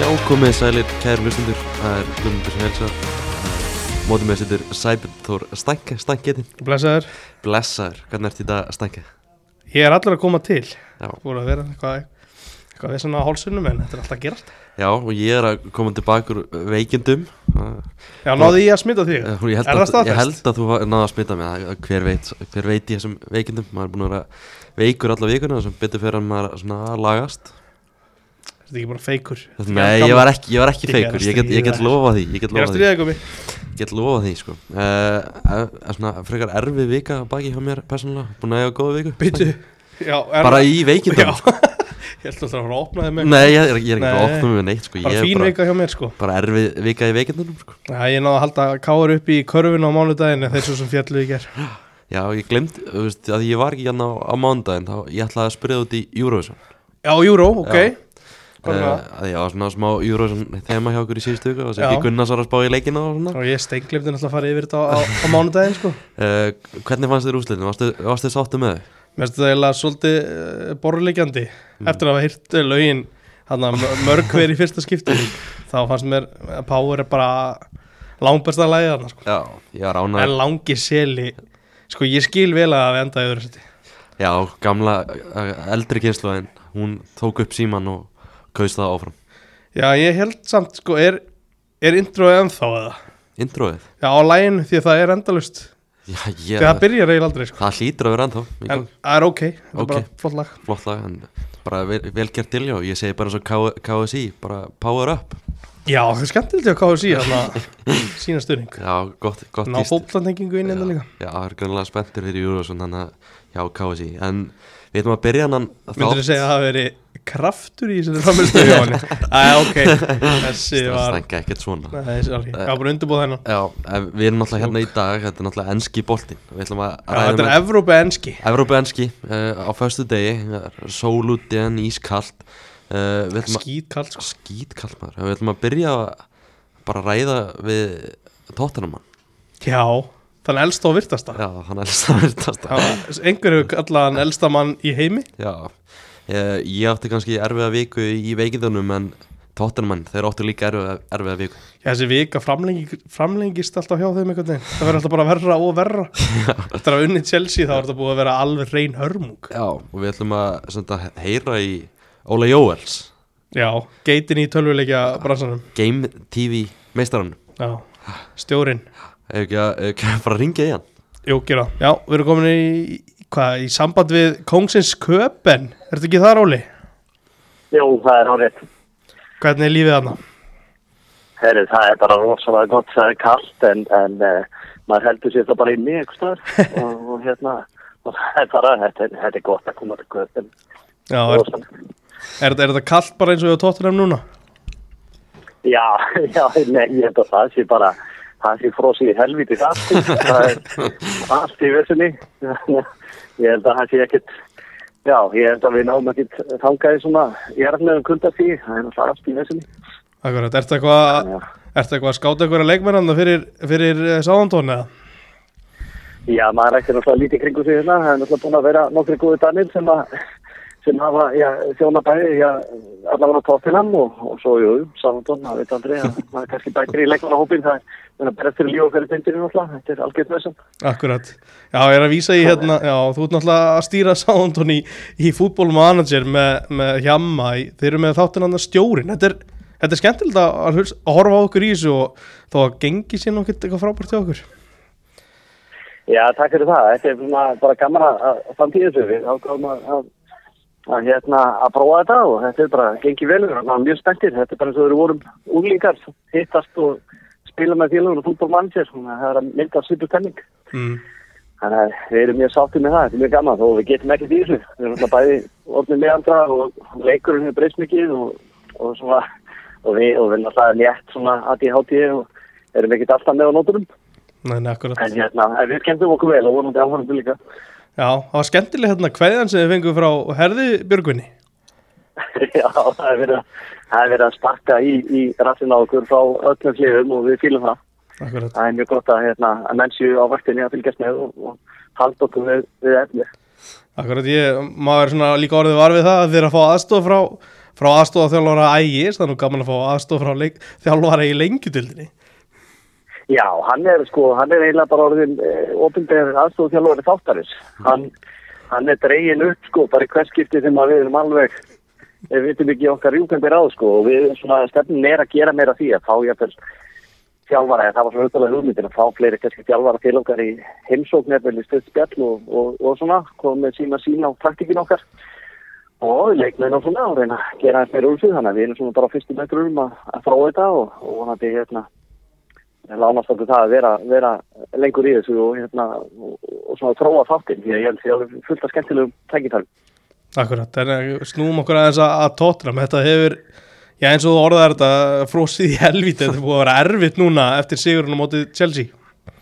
Já, komið sælir, kæru hlustundur, það er Guðmundur Helsa, mótið með sittur Sæbjörn Þór Stænke, Stænketin, Blessaður, blessaður, hvernig ert í dag Stænke? ég er allur að koma til Já. Búin að vera eitthvað eitthvað við svona á hálsunum en þetta er alltaf að gerast Já, og ég er að koma tilbaka úr veikindum, uh, Já, náði ég að smita því Eh, ég held, Er það að, ég staðfest? held að þú hafi náðu að smita mig það- hver veit, hver veit í þessum veikindum maður er búin að vera veikur alla vikuna sem betur fyrir að maður svona að lagast Þetta er ekki bara feikur Nei, ég var ekki, ég var ekki Ég er feikur, að ég get, ég get stríða. lofað því ég get Ég er að lofað því, stríða ykkur mig ég get lofað því sko. uh, svona frekar erfið vika að baki hjá mér persónulega, búin að eiga góða viku Byttu Já, er bara í veikindum Já, ég held að það var að opna þig með Nei, ég er, ég er ekki Nei. ofta með neitt sko. Bara ég er fín bara, vika hjá mér sko bara erfið vika í veikindunum sko. Já, ég náði að halda káar upp í körfinu á mánudaginu þeir svo sem fjallu í ger Já, ég glemt, þú veist, að ég var ekki hérna á, á mándaginn þá ég ætlaði að spyrja þú út í Eurovision Já, Júró, ok Já. Hvað Eh, með það? að ég var svona smá Eurovision þema hjá okkur í síðustu viku og sem Já. ekki Gunnars var að spá í leikina og svona Og ég steinglimti náttúrulega að fara yfir þetta á, á, á mánudagin sko uh, hvernig fannst þér úslitin, varstu, varstu sáttu með þau? Mér finnst þetta eiginlega svolítið uh, borulegjandi Eftir að hafa hýrt lögin hana, mörg hver í fyrsta skipti Þá fannst mér að Power er bara langbesta lagið þarna sko. Já, ég var ánað En langi seli Sko ég skil vel að við enda í öðru seti Já, gamla eh, eldri kynsluðin hún tók upp síman og kaust það áfram Já ég held samt sko er, er introið ennþá eða Introið Já á læginu því að það er endalust Já, Því ég, að það byrjar eiginlega aldrei sko það hlýtur að vera ennþá í En gangi. það er ok, þetta Ok. er bara flott lag Flott lag, en bara vel, vel gert til já Ég segi bara eins og K- KSI, bara power up Já það er skemmtilegt hjá KFC Þannig að sína stöðning Já, gott, gott Ná fólklandhengingu inn enda Já, líka Já, það er grannlega spenntur fyrir Eurovision þannig að já, KSI En við ætlum að byrja hann Myndur þú segja að það hafi verið kraftur í þessari framistu hjá henni? Æ, ok, þessi Það var... stænka ekkert svona Nei, þessi var ekki. Ég var bara undirbúð hennan. Já, en við erum náttúrulega hérna í dag Þetta er náttúrulega enski boltinn Við ætlum að Já, þetta ræða er með Evrópa enski. Evrópu enski uh, á föstu degi Sól úti en ískalt uh, Við ætlum að Skítkall, sko. Skítkallt maður Við ætlum að byrja að bara ræða við Tottenhamann Já, þannig elsta og virtasta. Já, hann elst að verðast Já, Einhver hefur kallað hann elsta mann í heimi. Já, ég, ég átti kannski erfiða viku í veikindunum en Tottenhamann, þeir áttu líka erfiða, erfiða viku Já, þessi vika framlengi, framlengist alltaf hjá þeim einhvern veginn. Það verður alltaf bara verra og verra. Eftir að unni Chelsea þá er þetta búið að vera alveg reyn hörmung. Já, og við ætlum að sem sagt, heyra í Óla Jóels Já, geitin í tölvuleikja bransanum. Game TV meistarann Já, stjórin. Ef ekki að, ef ekki að fara að ringja í hann Jú, gera. Já, við erum komin í, hvað, í samband við Kongsins Köpen. Ertu ekki það, Róli? Jú, það er árið. Hvernig er lífið þarna? Herri, það er bara rosalega gott, það er kallt en, en uh, maður heldur sér það bara inni einhvers staðar og, og hérna, og það er bara, þetta, er- þetta er gott að koma til kvöldin. Já, er, er, er þetta kallt bara eins og við á Tottenham núna? Já, já, nei, ég held að það sé bara, það sé frósið í helviti það, sko. það er allt í vissinni. ég held að það sé ekkit, já, ég held að við náum ekkit þangaði svona, ég er alveg um kuldastíð, það er alltaf allt í vissinni. Akkurat, ertu eitthvað Já. ertu eitthvað að skáta einhverja leikmennanna fyrir, fyrir Sáðantón eða? Já, maður ætti náttúrulega lítið kringu sig hérna, það er náttúrulega búin að vera nokkri góði danir sem, að, sem hafa, já, þjóna bæði, já, allavega á tóttilann og, og svo, jú, samandón, maður veit aldrei að maður kannski bætir í leikmannahópin, það er, það er berðast fyrir líf og fyrir tindinu náttúrulega, þetta er algjörð þessum. Akkurat. Já, ég er að vísa í hérna, já, þú ert náttúrulega að stýra Sáðantón í, í Football Manager með, með Hjamma, í- þeir eru með þáttinn hann stjórin. Þetta er, þetta er skemmtilegt að, að huls- að horfa á okkur í þessu og þó að gengi sér nokkert eitthvað frábært hjá okkur. Já, takk fyrir það. Þetta er svona bara gaman að að standa í þessu. Við ákváðum að, að, að, hérna, að prófa þetta og þetta er bara gengið vel. Við erum mjög spenntir. Þetta er bara eins og þeir vorum unglingar, hittast og spila með félagun og fútbolmann sér. Svona, það er að mynda svipu tenning. Mm. Þannig að við erum mjög sáttið með það. Þetta er mjög gaman og við getum ekkert í þessu. Við erum alltaf bæði orðnið með andra og leikurinn hefur breyst mikið og, og, svona, og við og við erum alltaf létt svona að í hátíði og erum ekkert alltaf með á nótunum. Nei, nei, akkurat. En hérna, en við skemmtum okkur vel og vonum þetta áhverjum líka. Já, það var skemmtileg hérna kveðjan sem þið fengum frá Herði Björgvinni. Já, það er verið að, það er verið að sparka í, í rassin á okkur frá öllum hliðum og við fýlum það. Akkurat. Það er mjög gott að, hérna, að menn séu á vaktinni að fylgjast með og, og halda okkur við, við efni. Akkurat, ég, maður er svona líka orðið var við það að þið er að fá aðstof frá, frá aðstofa þjálfara ægis, það er nú gaman að fá aðstofa frá leik, þjálfara í lengjutildinni Já, hann er sko, hann er eiginlega bara orðin eh, opinber aðstofþjálfari þáttarins. Hann, hann er dregin upp sko, bara í hverskipti þegar maður við erum alveg, eh, við vitum ekki okkar rjúkandi ráð sko og við svona stefnin er að gera meira af því að fá jáfnvel þjálfara, eða það var svona auðvitað hugmyndin að fá fleiri kannski þjálfara til okkar í heimsóknarvel í stöðt spjall og, og, og svona komið með sína sína á taktikin okkar og leikmenn og svona og reyna að gera eins meira úr því þannig að við erum svona bara á fyrstu metrum að, að frá þetta og, og vonandi hérna lánast okkur það að vera, vera lengur í þessu og, hérna, og, og svona þróa þáttinn því að ég held því að það er fullt af skemmtilegum tækitalum. Akkurat, en eh, snúum okkur aðeins að, að tóttra þetta hefur, já eins og þú orðar þetta frósið í helvítið, þetta er búið að vera erfitt núna eftir sigurinn á mótið Chelsea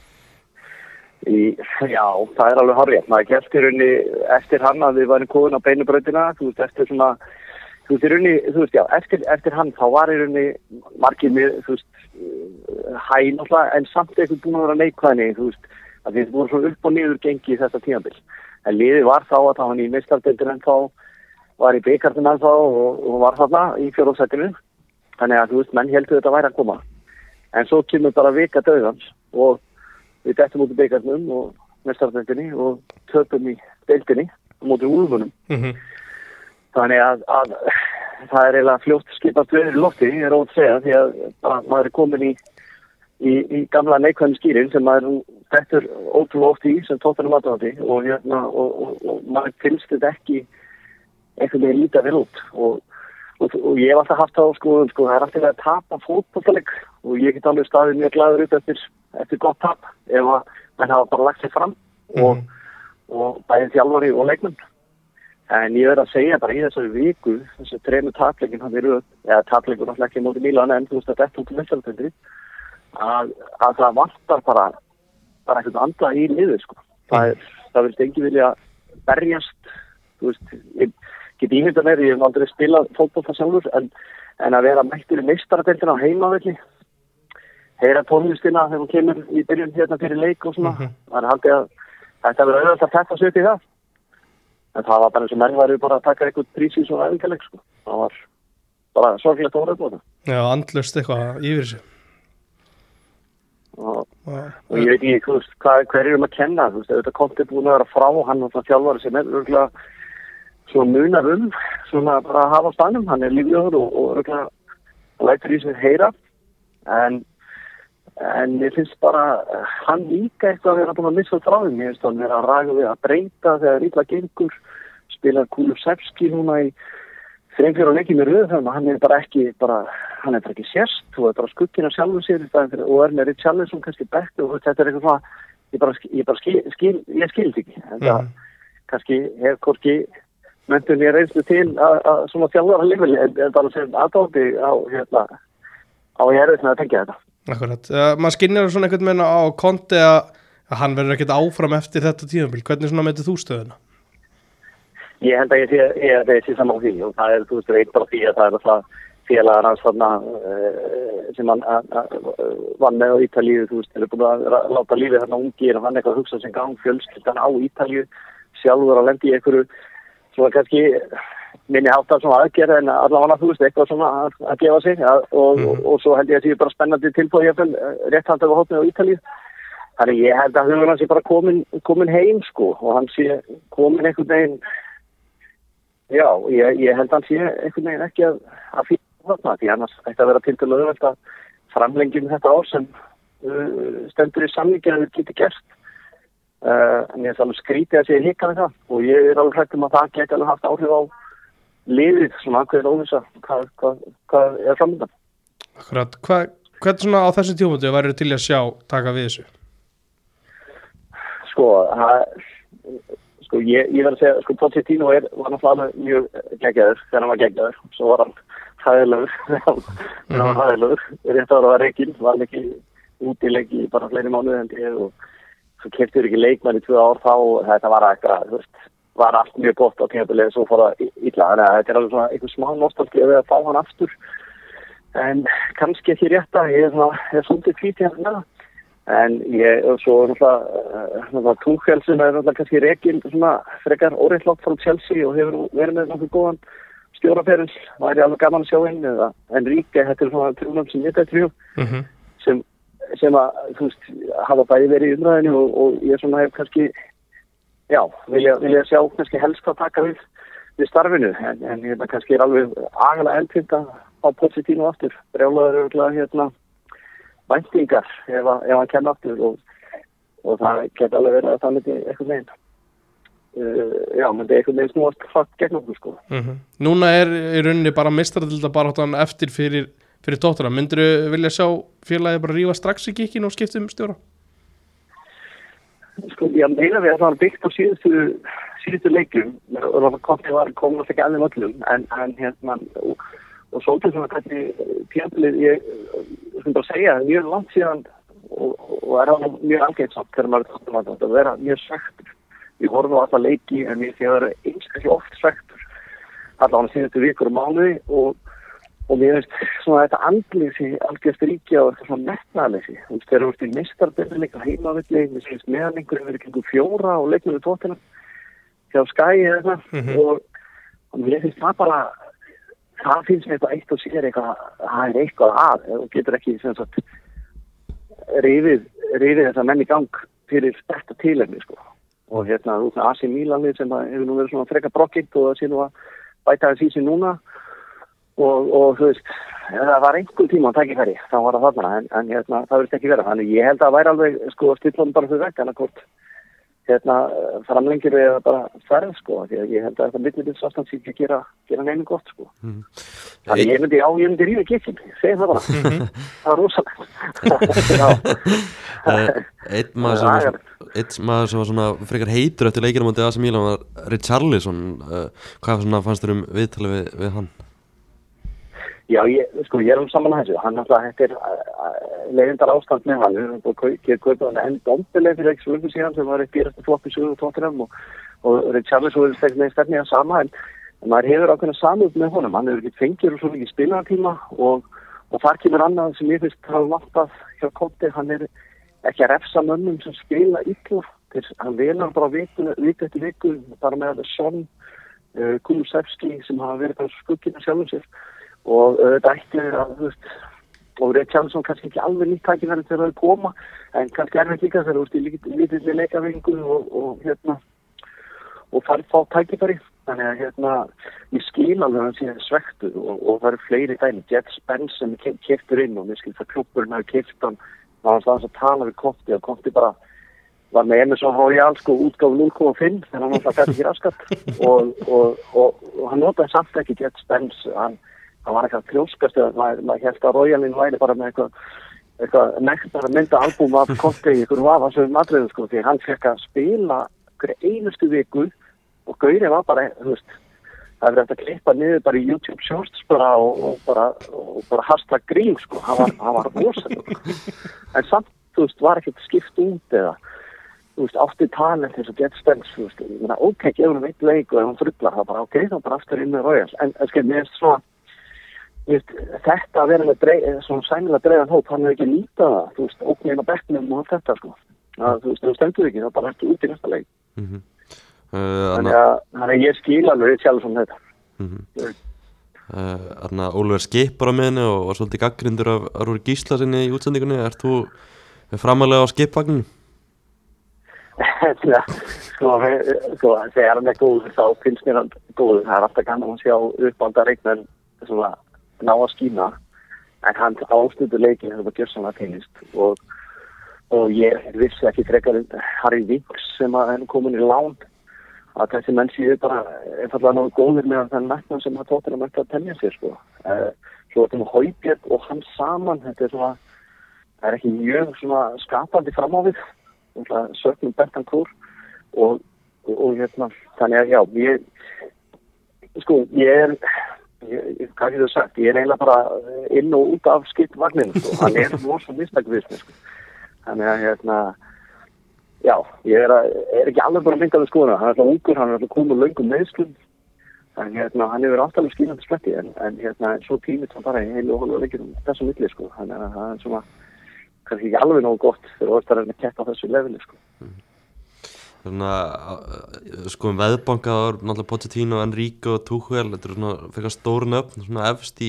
Í, já, það er alveg horrið. Maður kemst í rauninni eftir hann að við varum kóðin á beinubrautina, þú veist, eftir svona, þú veist, í rauninni, þú veist, já, eftir, eftir hann þá var í rauninni margir mér, þú veist, eh, hæ náttúrulega, en samt eitthvað búin að vera neikvæðni, þú veist, að við vorum svona upp og niður gengi í þessa tímabil. En liðið var þá að þá hann í meistardeldir en þá var í byggartum en þá og, og var þarna í fjórumsættinu. Þannig að, þú veist, menn heldur þetta væri að koma. En svo kemur bara vika döðans og við dettum út í byggarnum og mestardeldinni og töpum í deildinni á móti úlfunum. mm Þannig að, að það er eiginlega fljótt skipast við lofti, ég er ótt að segja, því að bara maður er komin í, í, í gamla neikvæðin skýrin sem maður nú dettur ótrúlega oft í sem tóttanum aðdáðandi og, hérna, og, og, og maður finnst þetta ekki einhvern veginn líta vel út og, og, og ég hef alltaf haft það á skoðum sko, það er alltaf að tapa fótbollaleg og ég get alveg staðið mjög glæður upp eftir, eftir gott tap ef að menn hafa bara lagt sér fram og, Mhm. og bæðið þjálfari og leikmenn en ég verð að segja bara í þessari viku þessu trefnu tapleikin hann eru eða tapleikur alltaf ekki móti Mílan en þú veist að þetta út í mestaröndri að, að það vantar bara bara eitthvað andla í liðu sko. það, er- það vilst engin vilja berjast þú veist, ég get ímynda meir, ég hef aldrei spilað fótbolta sjálfur, en, en að vera mættur í meistaradeildina á heimavelli, heyra tónlistina þegar hún kemur í byrjun hérna fyrir leik og svona, Mhm. það er haldið að þetta verður auðvitað að peppa sig upp í það. En það var bara eins og menn væri bara að taka eitthvað prísins og æfingaleg, sko. Það var bara sorglegt óreifbóta. Já, andlust eitthvað yfir þessu Og og, og ég veit ekki þú veist, hvað, hver er um að kenna þú veist, auðvitað Konti er búin að vera frá og hann og það þjálfari sem er örgulega svona munar um, svona bara að hafa á stanum, hann er lífjóður og, og örgulega lætur í sér heyra en en ég finnst bara eh, hann líka eitthvað að vera búin að missa dráðum ég finnst að hann vera að ræða við að breyta þegar ítla gengur, spila Kulusevski núna í þreim fyrir að leikja með röðu þannig að hann er bara ekki bara, hann er bara ekki sérst og er bara skuggin af sjálfum sér í staðinn fyrir, og er með Ritt Sjálfinsson kannski bekk og þetta er eitthvað svona ég bara, sk- ég bara skil, skil, ég skil þetta ekki en það Mhm. kannski hef hvorki menntun ég reynslu til að að svona þjálfara lifil en, en bara sem aðdóti á hérna á ég er auðvitað að tengja þetta Akkurat, uh, maður skinnir svona einhvern veginn á konti að að hann verður ekkert áfram eftir þetta tíðanbíl, hvernig svona metur þú stöðuna? Ég held að ég sé, ég held að ég sé saman á því og það er, þú veist, reynd bara því að það er alltaf félagar hans þarna eh, sem hann eh, eh, vann með á Ítalíu, þú veist, er búin að ra- láta lífið þarna ungir og hann eitthvað að hugsa sem gang fjölskyldan á Ítalíu sjálfur að lendi í einhverju svona kannski minni hátt að svona aðgerð en allavega þú veist eitthvað svona að, að gefa sig að, og, og, og svo held ég að það sé bara spennandi tilbúið ég fæl rétt handað á hótni á Ítalíu Þannig ég held að hugur hans sé bara komin, komin heim sko og hann sé komin einhvern veginn Já, ég, ég held að hann sé einhvern veginn ekki að, að fyrir þarna, því annars ætti að vera til til auðvelt að framlengjum þetta ár sem uh, stendur í samlingi að við getur gert. Uh, en ég er alveg skrítið að sé hika við það og ég er alveg hrægt um að það geti alveg haft áhrif á liðið, svona ákveðin óvisa, hvað, hvað, hvað er framöndan. Akkurat, hva, hvernig svona á þessu tíðanbíl verður til í að sjá taka við þessu? Sko, það, sko ég, ég verð að segja, sko Pochettino er, var náttúrulega alveg mjög eh, geggjaður þegar hann var geggjaður, svo var hann hæðilegur, þegar hann- þegar hann var hæðilegur rétt ára var reikinn, var hann ekki útileg í bara fleiri mánuði en ég og svo keftur ekki leikmann í tvö ár þá og þetta var eitthvað, þú veist var allt mjög gott á tímabilið svo fór það í- illa, þannig að þetta er alveg svona einhver smá nostalgi við að fá hann aftur en kannski ekki rétt að ég er svona, ég er svolítið hérna. kvítið hann með það En ég, og svo er náttúrulega Túkel sem er náttúrulega kannski rekin svona frekar óreittlátt frá Chelsea og hefur nú verið með nokkuð góðan stjóraferil væri alveg gaman að sjá inn eða, en ríka, þetta er svona trúnum sem ég þetta trú mm -hmm. sem, sem að þú veist, hafa bæði verið í umræðinu og, og ég svona hef kannski já, vilja, vilja sjá kannski helst að taka við, við starfinu en, en hérna kannski er alveg agalega eldfind að á positínu aftur brjálaður eru glæða hérna væntingar ef, að, ef hann kemur aftur og, og það geta alveg verið að það myndi eitthvað meginn uh, já, myndi eitthvað meginn snúast fatt gegn okkur sko mhm. Núna er í rauninni bara mistradilda baráttan eftir fyrir, fyrir tóttuna myndirðu vilja sjá félagi bara rífa strax í kikkinu og skipta um stjóra Sko, ég meina við að það var byggt á síðustu, síðustu leikum og það kom til að koma alltaf ekki aðeins öllum en, en hérna og, og svolítið svona hvernig tjöflið ég skulum bara segja, það er mjög langt síðan og, og er það mjög algeitt samt þegar maður er tóttum að þetta vera mjög svektur við vorum á alltaf leiki en ég sé að það er einstaklega oft svektur allavega síðustu vikur og mánuði og og mér veist svona þetta andlýsi algjörst ríkja og eitthvað svona metnaðlýsi þú veist þeir eru úrst í mistarbyrðinleik á heimavillig, mér finnst meðan einhverjum verið kringum fjóra og leiknum við tóttina hjá skæi eða eitthvað og, og mér finnst það bara það finnst mér eitthvað eitt og sér eitthvað það er eitthvað að og getur ekki sem sagt rifið, rifið þessa menn í gang fyrir þetta tilefni sko og hérna út með Asi Mílanlið sem að hefur nú verið svona freka brokkitt og það sé nú að bæta þess í sig núna og, og þú veist, ef það var einhver tíma að takja færi, þá var það þarna en, en hérna, það verðist ekki vera, þannig ég held að það væri alveg sko að stilla hann bara fyrir vekk en að hvort hérna, framlengir eða bara færð sko, því að ég held að þetta millilinsastand sé ekki gera, gera neinu gott sko þannig ég myndi, já, ég myndi ríða kikkin ég segi það bara, það er rosalegt já, Eitt Eh, maður sem var, svona- einn maður sem var svona frekar heitur eftir leikinu mútið AC Milan var Richarlison uh, hvað svona fannst þér um viðtalið við, við hann? Já, ég, sko, ég er um saman að þessu. Hann alltaf, þetta er leiðindar ástand með hann. Við erum búin að gera kaupið hann enn dombileg fyrir ekki svöldum síðan sem var eitt býrasta flopp í sögur og tóttunum og, og Richarlis og þeir með stefni að sama en, en maður hefur ákveðna samöld með honum. Hann hefur ekki fengir og svo mikið spilaðartíma og, og þar kemur annað sem ég finnst hafa vantað hjá Kotti. Hann er ekki að refsa mönnum sem spila illa. Þeir, hann velar bara viku, viku eftir viku, bara með að Son, uh, Kulusevski sem hafa verið bara skuggina sjálfum sér og auðvitað ætti þeir að þú veist, og Richardson kannski ekki alveg nýtt tækifæri þegar það koma en kannski erfitt líka þegar þú veist í lítilli leikavingu og, og hérna og farið fá tækifæri þannig að hérna ég skil alveg að hann sé svektu og, og það eru fleiri dæmi Jed Spence sem er keftur inn og mér skil það klubburinn hafi keft hann þá var hann staðans að tala við Kofti og Kofti bara var með Emerson Royal sko útgáfu 0,5 þegar hann alltaf gæti ekki raskat og, og, og, og hann notaði samt ekki Jed Spence hann, hann var eitthvað trjóskast eða maður, maður held að Royalin væri bara með eitthvað eitthvað nektar að mynda albúm af Kotti í einhverjum vafasöfum atriðum sko því hann fekk að spila hverja einustu viku og Gauri var bara, þú veist það er verið að klippa niður bara í YouTube shorts bara og, og bara, og bara hasla grín sko, hann var, hann var rosalur en samt, þú veist, var ekkert skipt út eða þú veist, átti talent eins og Jet Spence, þú veist, ég meina, ok, gefur hann eitt leik og ef hann frullar það bara, ok, þá bara aftur inn með Royals, en, en skeið, mér er svona þú veist, þetta að vera með dreif, svona sæmilega dreifan hóp, hann er ekki nýta það, þú veist, óknina bekknum og allt þetta, sko, að, þú veist, ef þú stendur ekki, þá bara ertu út í næsta leik, Uh, þannig að, þannig að ég skil alveg sjálf svona þetta. Eh, Þannig að Ólver skipar á meðinu og var svolítið gaggrindur af Arúri Gísla sinni í útsendingunni Ert þú framalega á skipvagninu? Já, sko, við- sko, þegar hann er góður þá finnst mér hann góður. Það er alltaf kannan að sjá uppbanda reikmenn svona ná að skýna. En hann ástundu leikin þegar það var gjörsamlega tennist. Og, og ég vissi ekki frekar en Harry Winks sem að hann komin í lán að þessi menn séu bara einfallega náðu góðir með þann metnum sem að tóttina mætti að tennja sér sko. Eh, Svo þetta með Hóibjörn og hann saman, þetta er svona það er ekki mjög svona skapandi framávið sögnum Bertan Kúr og, og, og hérna þannig að já, ég sko, ég er ég, ég- hvað getur sagt, ég er eiginlega bara inn og út af skipt vagninu sko. hann er rosa mistakvið við mér, sko. þannig að hérna já, ég er, að, er ekki alveg bara að mynda við skoðuna, hann er alltaf ungur, hann er alltaf komið löngum meðslum en hérna, hann hefur alltaf alveg skýrandi spletti en, en hérna, svo tímið það bara í heilu og hólu og leikir um þessu milli sko. þannig að það er svona kannski ekki alveg nógu gott fyrir orðstæðarinn að keppa á þessu leveli sko. svona, uh, sko um veðbanka það var náttúrulega Pochettino, Enrico, Tuchel þetta er svona frekar stórn öfn svona efst í,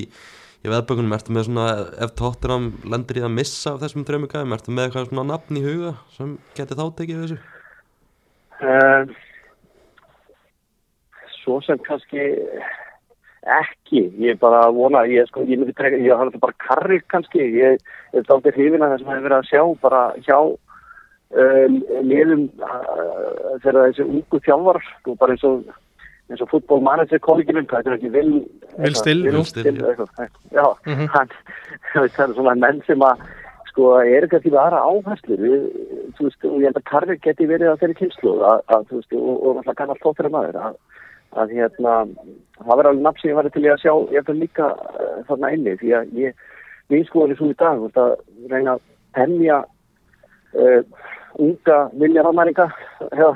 í veðbankunum, ertu með svona ef Tottenham lendir í að missa af þessum þrejum gæðum, ertu með eitthvað svona nafn í huga sem geti þá tekið þessu? Uh, svo sem kannski ekki, ég er bara að vona ég, sko, ég myndi treka, ég har þetta bara karrið kannski, ég er þáttið hrifin að það sem hefur verið að sjá bara hjá um, liðum uh, þegar þessi ungu þjálfar sko, bara eins og eins og fútbólmanager kolleginum, hvað er þetta ekki vil Will Still, Will jú. Still, Still, já. eitthvað, já, Mhm. hann það er svona menn sem að sko, er ekki við aðra áherslu við, þú veist, og ég held að Karri geti verið að þeirri kynslu að, að, þú veist, og, og alltaf kannar tóttir maður að, að hérna, það verður alveg nafn sem ég var til í að sjá, ég held að líka uh, þarna inni, því að ég við sko erum svo í dag, þú veist, að reyna að penja uh, unga miljarðamæringa eða,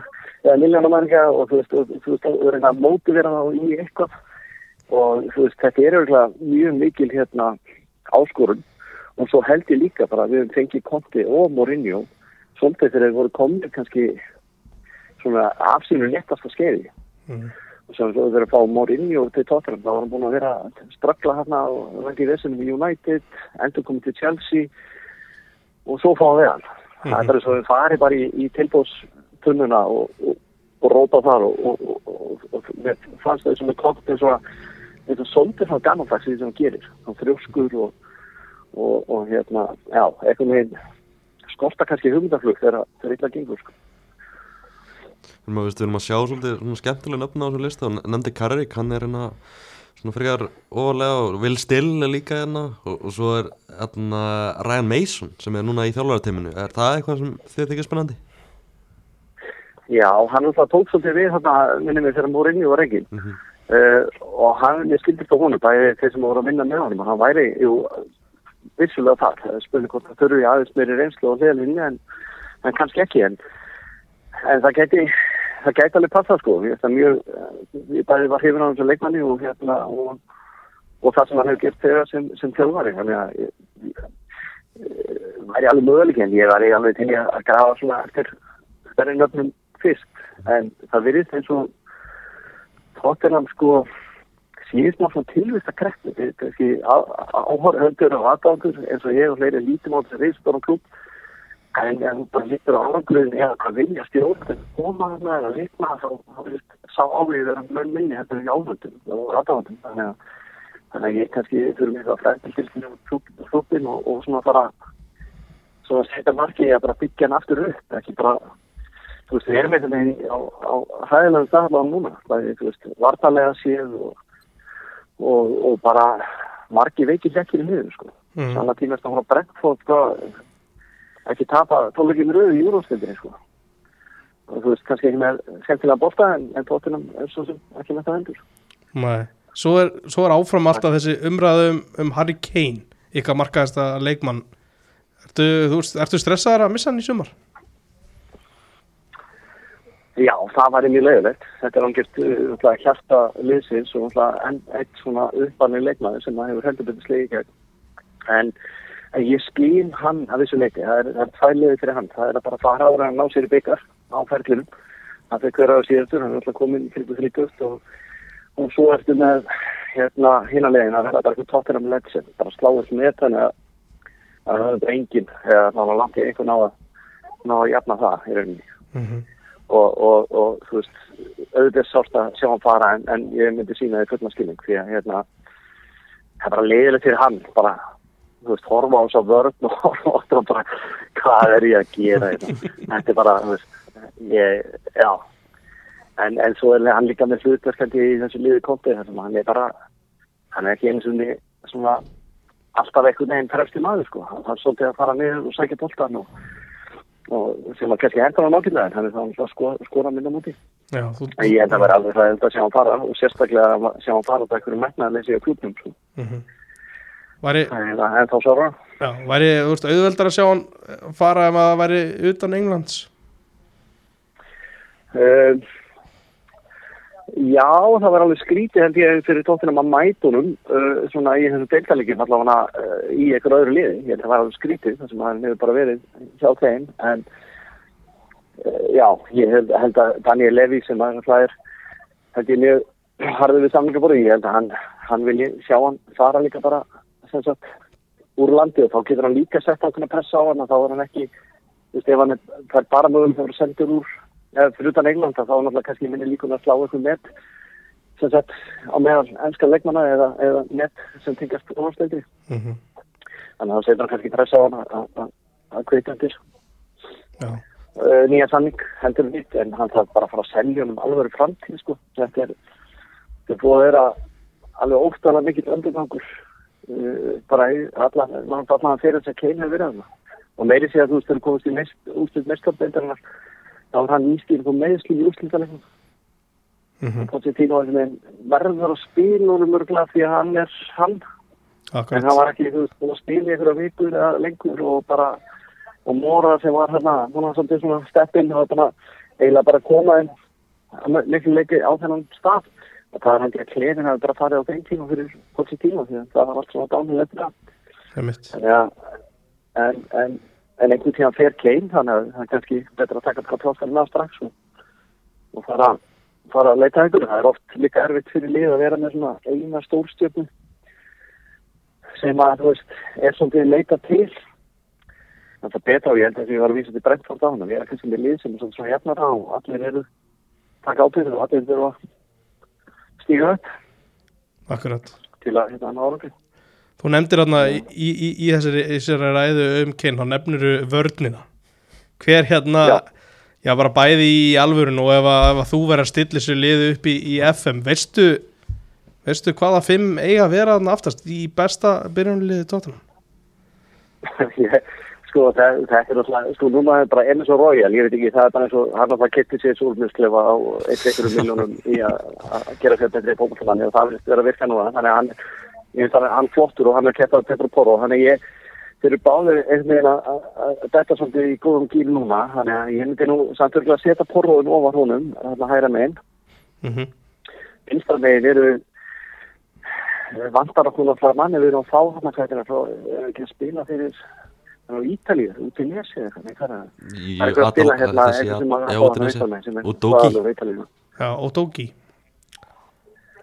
eða miljarðamæringa og þú veist, og, þú veist, og reyna að mótivera þá í eitthvað og þú veist, þetta er auðvitað mjög mikil hérna áskorun og svo held ég líka bara að við höfum fengið Conte og Mourinho svolítið þegar þeir voru komnir kannski svona afsýnur nettast að skeiði Mhm. og svo þegar þeir að fá Mourinho til Tottenham þá var hann búin að vera að strakla hérna og lendi í vissunum í United endur komið til Chelsea og svo fá hann við hann það er svo að við farið bara í, í tilbóðstunnuna og, og, og róta þar og, og, og, og, og mér fannst það sem er kokt eins og þetta er svolítið frá gammaldags í því sem hann gerir hann þrjóskur og, og, og hérna, já, eitthvað með skorta kannski hugmyndaflug þegar þegar illa gengur sko. Við erum að, veist, við erum að sjá svolítið svona skemmtilega nöfn á þessum listu og nefndi Karrik, hann er hérna svona frekar ofalega og Will Still er líka hérna og, og svo er hérna Ryan Mason sem er núna í þjálfarateiminu, er það eitthvað sem þið þykir spennandi? já, hann alltaf tók svolítið við þarna, minni mig þegar Mourinho var ekki Mm -hmm. uh, og hann, ég skildi þetta honum bæði þeir sem voru að vinna með honum og hann væri, jú, vissulega það Það er spurning hvort það þurfi aðeins meiri reynslu og leðlinni en, en kannski ekki en, en það gæti það gæti alveg passa sko ég, það mjög, eh, ég bæði var hrifin á hans leikmanni og hérna og, og það sem hann hefur gert þegar sem, sem þjóðvari þannig að ég, ég, eh, væri alveg möguleik en ég væri alveg til í að að grafa svona eftir stærri nöfnum fyrst en það virðist eins og Tottenham sko síðist maður svona tilvist að kreppu Þetta er kannski áhörhöndur og aðgangur eins og ég og fleiri lítum á þessi reisbjörn klub en en hún bara lítur á árangurinn eða hvað vilja stjórn koma þarna eða vitna þá þá veist, sá ávíð er að mönn minni þetta er í áhörhundum og aðgangum þannig að þannig að ég kannski þurfum eitthvað frændi til fyrir klubin og, og svona bara svona setja markið að bara byggja hann aftur upp ekki bara þú veist, við erum einhvern veginn á, á hæðilega staðlega núna, það er, þú veist, vartalega séð og, og, og bara margi veikir lekkir í miður, sko. Mm. Mhm. Sannig að tímast að hún á brekkfótt, sko, ekki tapa tólugjum röðu í júróstundinni, sko. Og þú veist, kannski ekki með skemmtilega bolta en, en tóttunum er svo sem ekki með það sko. endur. Nei. Svo er, svo er áfram alltaf þessi umræðum um Harry Kane, ykkar markaðasta leikmann. Ertu, þú, ert- ertu stressaður að missa hann í sumar? Já, það var mjög leiðilegt. Þetta er angert uh, hjarta liðsins og náttúrulega enn eitt svona uppanir leikmaður sem maður hefur heldur betur slegið í gegn. En, en ég skýn hann að þessu leiti. Það er, það er tvær liðið fyrir hann. Það er að bara fara ára að ná sér í byggar á ferlinum. Það fyrir hverja á síðastur, hann er alltaf komin fyrir þrítust og, og svo ertu með hérna hinn að leiðin að verða bara eitthvað tóttir um leggsinn. Bara sláður með þannig að að það er enginn, eða það var langt í einhvern á að, ná að jafna það í rauninni Mhm. og, og, og þú veist, auðvitað er sárt að sjá hann fara en, en ég myndi sína því fullna skilning því að hérna, það er bara leiðilegt fyrir hann bara, þú veist, horfa á þess að vörn og horfa á þetta og bara hvað er ég að gera hérna? þetta er bara, þú veist ég, já en, en svo er hann líka með hlutverkandi í þessu liði kompi þar sem hann er bara hann er ekki eins og niður svona alltaf einhvern veginn fremst í maður sko hann er svolítið að fara niður og sækja boltan og, og sem að kannski hendur hann ákveðlega en hann er þá alltaf að skora, skora minna múti Já, þú... en ég held að vera alveg það held að sjá hann fara og sérstaklega að sjá hann fara út af einhverju metnaðleysi á klubnum sko. Mhm. Væri, en það er þá svara já, væri þú veist, auðveldar að sjá hann eh, fara ef að það væri utan Englands? Uh, já, það var alveg skrítið held ég fyrir tóttinum að mætunum uh, svona í þessu deildaleggjum allavega uh, í einhver öðru liði, ég held að það var alveg skrítið þar sem hann hefur bara verið hjá þeim en Eh, Já, ég held, held að Daniel Levy sem að það er held ég mjög harðið við samlingaborðið, ég held að hann, hann vilji sjá hann fara líka bara sem sagt úr landi og þá getur hann líka sett ákveðna pressa á hann og þá er hann ekki, þú veist, ef hann er, það er bara mögum það er sendur úr, eða fyrir utan England þá er hann alltaf kannski minni líkun að slá eitthvað með sem sagt á meðal ennska leikmanna eða, eða net sem tengast úrvarsleikri. mm -hmm. Þannig að það setur hann kannski pressa á hann að- að- að- að kveita hann til Já, uh, nýja samning heldur nýtt en hann þarf bara að fara að selja honum alveg framtíð sko. þetta er þetta er búið að vera alveg óttalega mikill öndugangur uh, bara í allan mann allan fyrir þess að Kane hefur verið þarna. og meiri sé að þú veist þegar komast í mest, úslit mestarbeitarinnar þá er hann nýstil þú meðsli í úslitaleikum mm Pochettino er með verður að spila honum örgulega því að hann er hann en hann akkurat var ekki þú veist, búinn að spila í einhverja vikur eða lengur og bara og Móra sem var hérna hún var svolítið svona steppin og bara eiginlega bara koma inn að miklu leiki á þennan stað og það er hann ekki að klefin að bara farið á þeim tíma fyrir hvorsi tíma því að það var allt svona dánum eftir það einmitt. Þannig að- en, en, en einhvern tíma fer Kane þannig að það er kannski betra að taka þetta pláskan af strax og, og fara, fara að leita að einhverju það er oft líka erfitt fyrir lið að vera með svona eina stórstjörnu sem að þú veist er svolítið leita til en það er betra og ég held að því ég var að vísa til brent fór dána, við erum kannski með lið sem er svolítið svona jafnara og allir eru taka ábyrðu og allir eru að stíga upp akkurat til að hérna ná árangri Þú nefndir hérna í, í, í, í þessari, í þessari ræðu um kyn, þá nefnir þú vörnina. Hver hérna, já. Já. bara bæði í alvörun og ef, að, ef að þú verður að stilla sér liðu upp í, í FM, veistu, veistu hvaða fimm eiga að vera þarna aftast í besta byrjunliði tóttunum? Ég- sko það, það er alltaf, sko núna er bara enn svo royal, ég veit ekki, það er bara eins og hann alltaf kitti sér súrmjösklefa á einhverjum miljónum í að að gera fyrir betri fókbaltamann og það verðist vera að virka núna, þannig að hann, ég veist að hann flottur og hann er keppað Petro Porro, þannig að ég, þeir eru báðir einhvern veginn að- að að detta svolítið í góðum gíl núna, þannig að ég myndi nú samt örgulega að setja Porroðun ofar honum, þannig að hæra meginn, Mm -hmm. vinstra meginn eru eh, vantar okkur að fara manni við erum að fá hann að kvætina frá eh, ekki að spila fyrir hann á Ítalíu, út í Nesi eða eitthvað, nei, hvað er það? Jú, Það er eitthvað að spila hérna þessi eitthvað að- sem að já, fá hann að Odinese. vinstra meginn sem er og Dóki aðalur á Ítalíu. Já, og Dóki.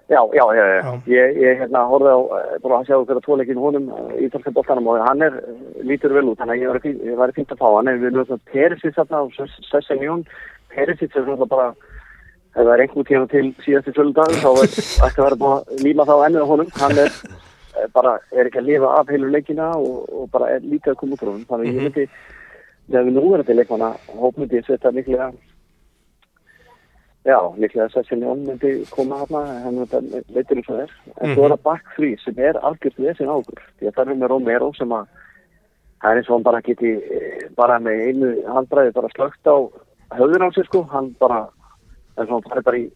Já, já, já, já. Já. Ég, ég hérna horfði á, eh, bara að sjá hverja tvoleikin honum eh, ítalska boltanum og hann er, eh, lítur vel út, þannig að ég væri fín- ég væri fínt að fá hann en við erum svona Perisic þarna og Sessenjón, Perisic er svona bara ef það er einhvern tíma til síðasti fjöldag þá er ætti að vera búin að líma það á ennið á honum hann er eh, bara er ekki að lifa af heilu leikina og, og bara er líka að koma út frá honum þannig að ég myndi þegar við nú erum til leikmanna hópmyndi ég setja miklega já, líklega Sessin Jón myndi koma hana hann veitir eins og það er en svo er það back 3 sem er algjörð lesin á okkur því að það er með Romero sem að það er eins og hann bara geti eh, bara með einu handbræði bara slögt á höfðun á sér sko hann bara en svona það er bara í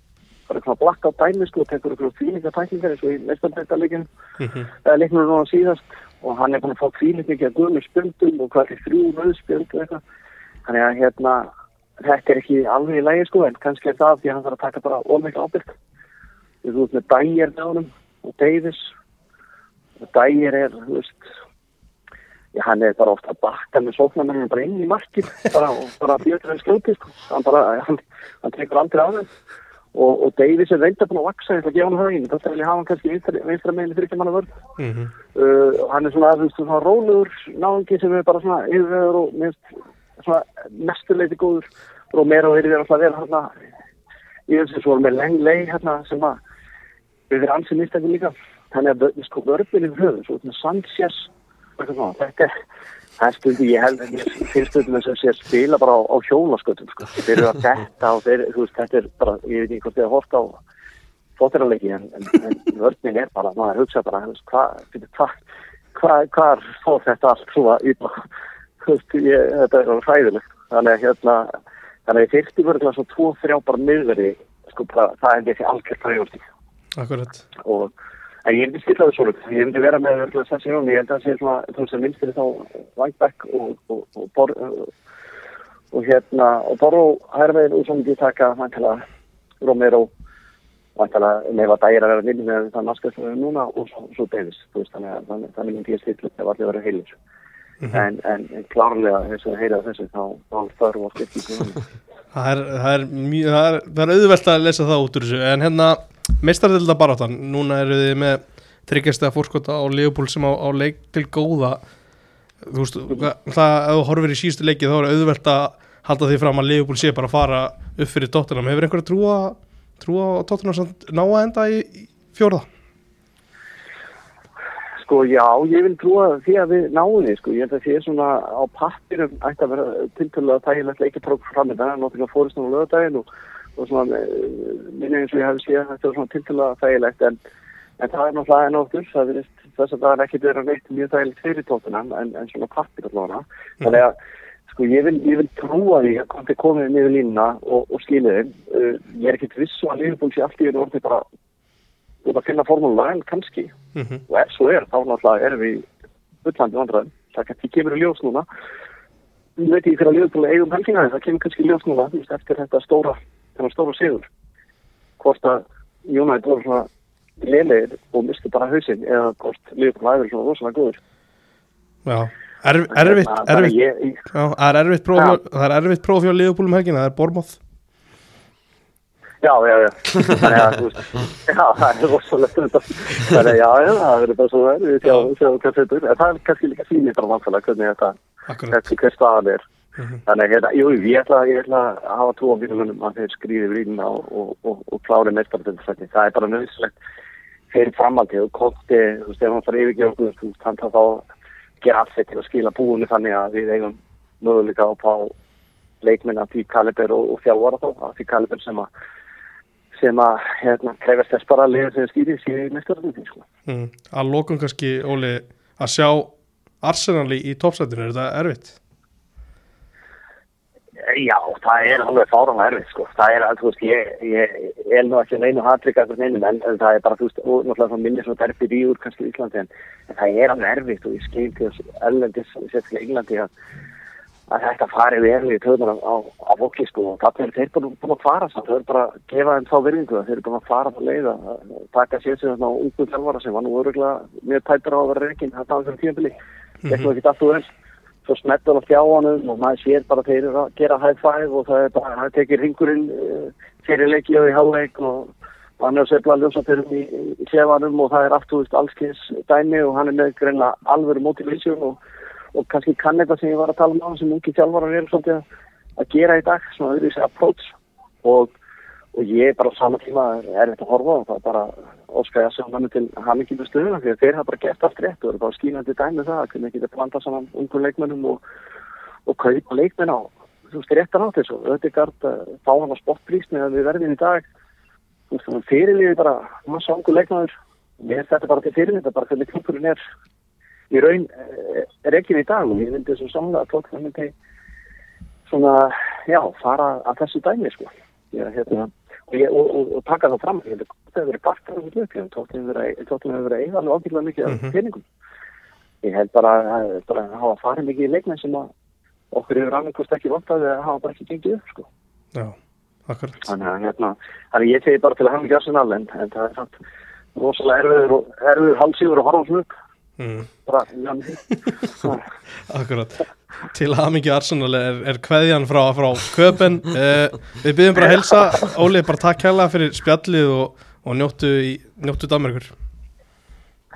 bara svona blakk á dæmi sko, tekur ykkur fílinga tæklingar eins og í mestanbættarleikin Mhm. eða leiknur núna síðast og hann er búin að fá fílinga ekki að guðnum spjöldum og hvað er þrjú rauðspjöld og eitthvað þannig að hérna þetta er ekki alveg í lægi sko en kannski er það því að hann þarf að taka bara ómikla ábyrg við þú veist með Dyer með honum og Davis og Dyer er þú veist Já, hann er bara ofta að bakka með sóknarmenninu bara inn í markið bara, og bara fjötur en skjóti sko. hann bara, hann, hann tekur aldrei á þeim og, og Davies er reynda búin að vaksa ég ætla að gefa hann það einu, þetta vil ég hafa hann kannski vinstra- vinstra meginn fyrir ekki manna vörð Mm -hmm. uh, hann er svona, þú veist, svona rólegur náðungi sem er bara svona yfirveður og minnst svona mestuleiti góður Romero er yfir alltaf vel hérna í þessu svo er með leng lei hérna sem að við erum ansið nýstækni líka þannig að vö- sko vörfin yfir höfum svo með Sanchez og eitthvað svona. þetta er Það er stundu, ég held, ég finnst stundum þess að sé að spila bara á, á hjólaskötum, sko. Þeir eru að þetta og þeir, þú veist, þetta er bara, ég veit ekki hvort þið er hort á fóttirarleiki en, en, en vörninn er bara, maður hugsa bara þú veist, hvað hva, hva, hva fór þetta allt svona í þú veist, ég, þetta er alveg hræðilegt þannig að hérna þannig að ég fyrst í vörgla svo tvo þrjá bara miðveri sko, bara, það er þessi algjörð frægjórti Akkurat. og en ég myndi stilla það svona upp. ég myndi vera með örgulega sessi núna ég held að það sé svona þú veist að minnst þá Vækbæk og, og, og, bor, og, og hérna og Boró Hermein og svo myndi ég taka mæntalega Romero mæntalega nefa dægir að vera nýtt með það maska sem við erum núna og svo, svo Davis þú veist þannig að þannig- þannig myndi ég stilla það var allir að vera heilir en, en, en klárlega þess að heyra þessu þá þá þarf að skipta í það er, það er, mjög, það er, það er auðvelt að lesa það út úr þessu en hérna meistardelda baráttan, núna eru þið með tryggjasta fórskota á Leopold sem á, á leik til góða þú veist, það, það ef þú horfir í síðustu leiki þá er auðvelt að halda því fram að Leopold sé bara að fara upp fyrir Tottenham, hefur einhver að trúa trúa á Tottenham samt ná að enda í, í fjórða? Sko já, ég vil trúa því að við náum því sko, ég held að því er svona á pappirum ætti að vera tiltölulega þægilegt leikaprók framöndan, en náttúrulega fórist á lögadaginn og, og svona eh, minni eins og ég hefði séð þetta var svona tiltölulega þægilegt en, en það er náttúrulega enn áttur það virðist þess að það er ekkit verið að neitt mjög þægilegt fyrir tóttunan en, en svona pappir allavega þannig að sko ég vil, ég vil trúa því að komið komið niður línuna og, og skilið þeim uh, ég er ekkit viss og að Liverpool sé allt í einu orðið bara út að finna formúluna en kannski Mhm. og ef svo er, þá náttúrulega erum við fullandi vandræðum, það kannski kemur í ljós núna ég veit ekki fyrir að Liverpool eigum helgina, en það kemur kannski í ljós núna þú veist, eftir þetta stóra, þennan stóra sigur hvort að United voru svona leilegir og mistu bara hausinn eða hvort Liverpool aðeins svona rosalega góður Já, Erf, erfitt, Þannig að bara erfitt ég, ég, Hérna, Já, það er erfitt próf, það er erfitt próf hjá Leopold um helgina, það er Bormoth Já, já, já, þannig að, þú veist, já, það er rosalegt þetta, þannig að, já, já, það verður bara svona erfið, já, sjá hvað þetta er, en það er kannski líka sýnir bara vantilega hvernig þetta, Akkurat, þetta hver staðan er þannig að hérna, jú, ég ætla, ég ætla að hafa trú á viljum að þeir skrýði vrýðina og, og, og, og klári meistarðinsætti það er bara nöðislegt fyrir framhaldi og kosti, þú veist, ef hann þarf yfirgjóðum þú veist, hann þarf þá að gera allt sitt til að skila búinu þannig að við eigum möguleika á að fá leikmenn af því kaliber og, og þjálfara þá af því kaliber sem að sem að, hérna, krefast þess bara að liða sem skýri síðan meistarðinsætti, sko mm. að lokum kannski, Óli að sjá Arsenal í, í toppsættinu, er þetta erfitt? Já, það er alveg fárum erfið sko. Það er alveg, þú veist, ég, ég er nú ekki neinu hatrygg af neinum en en það er bara, þú veist, og náttúrulega það minnir svona derfið í úr kannski Íslandi en, en það er alveg erfið og ég skil til þessu erlendis, sérstaklega Englandi að, að þetta fari við erfið í töðunar á, á, á vokki sko og það er þeir bara búin að fara samt, þau eru bara að gefa þeim þá virðingu þeir eru búin að fara þá leið að að taka sér sem þarna ungu þjálfara sem var nú öruglega mjög tættur á að vera reikinn þetta á þessum tíðanbili mm -hmm. ekkert allt og vel svo smettur á þjáanum og maður sér bara þeir eru að gera high five og það er bara, það tekir ringurinn eh, fyrir leiki og í hálfleik og og hann er að sefla ljósapyrum í, í klefanum og það er allt úr allskins dæmi og hann er með greinlega alvöru motivation og, og kannski kann eitthvað sem ég var að tala um á sem ungi þjálfarar eru svolítið að- að gera í dag, svona öðru þessi approach og, og ég er bara á sama tíma er þetta að horfa og það er bara óska ég að sjá manni til hamingi með stöðuna því að þeir hafa bara gert allt rétt og eru bara skínandi dæmi um það að hvernig geta blanda saman ungu leikmennum og, og kaupa leikmenn á þú veist, réttan átt þessu, Ödegard eh, fá hann á sportprís meðan við verðum í dag þú veist, hann fyrirliði bara massa ungu leikmennur mér er þetta bara til fyrirlið, þetta er bara hvernig klubburinn er í raun eh, er ekki í dag og ég myndi þessum samlega að tók það myndi svona, já, fara að þessu dæmi sko ég, hérna, og, ég, og, og, og taka það fram ég held að það hefur verið partur af þessu lögum tóttum hefur verið að eiga alveg ábyggilega mikið mm peningum ég held bara að bara að hafa farið mikið í leikmenn sem að okkur hefur annarkost ekki vantað eða hafa bara ekki gengið upp sko Já, akkurat þannig að hérna, þannig að ég segi bara til að hafa mikið arsenal en, en það er samt rosalega erfiður, og- erfiður halsífur og horfum upp mm. bara, já, Akkurat, til hamingi Arsenal er, er kveðjan frá, frá köpen uh, Við byggjum bara að helsa Óli, bara takk hella fyrir spjallið og, og njóttu, í, njóttu Danmarkur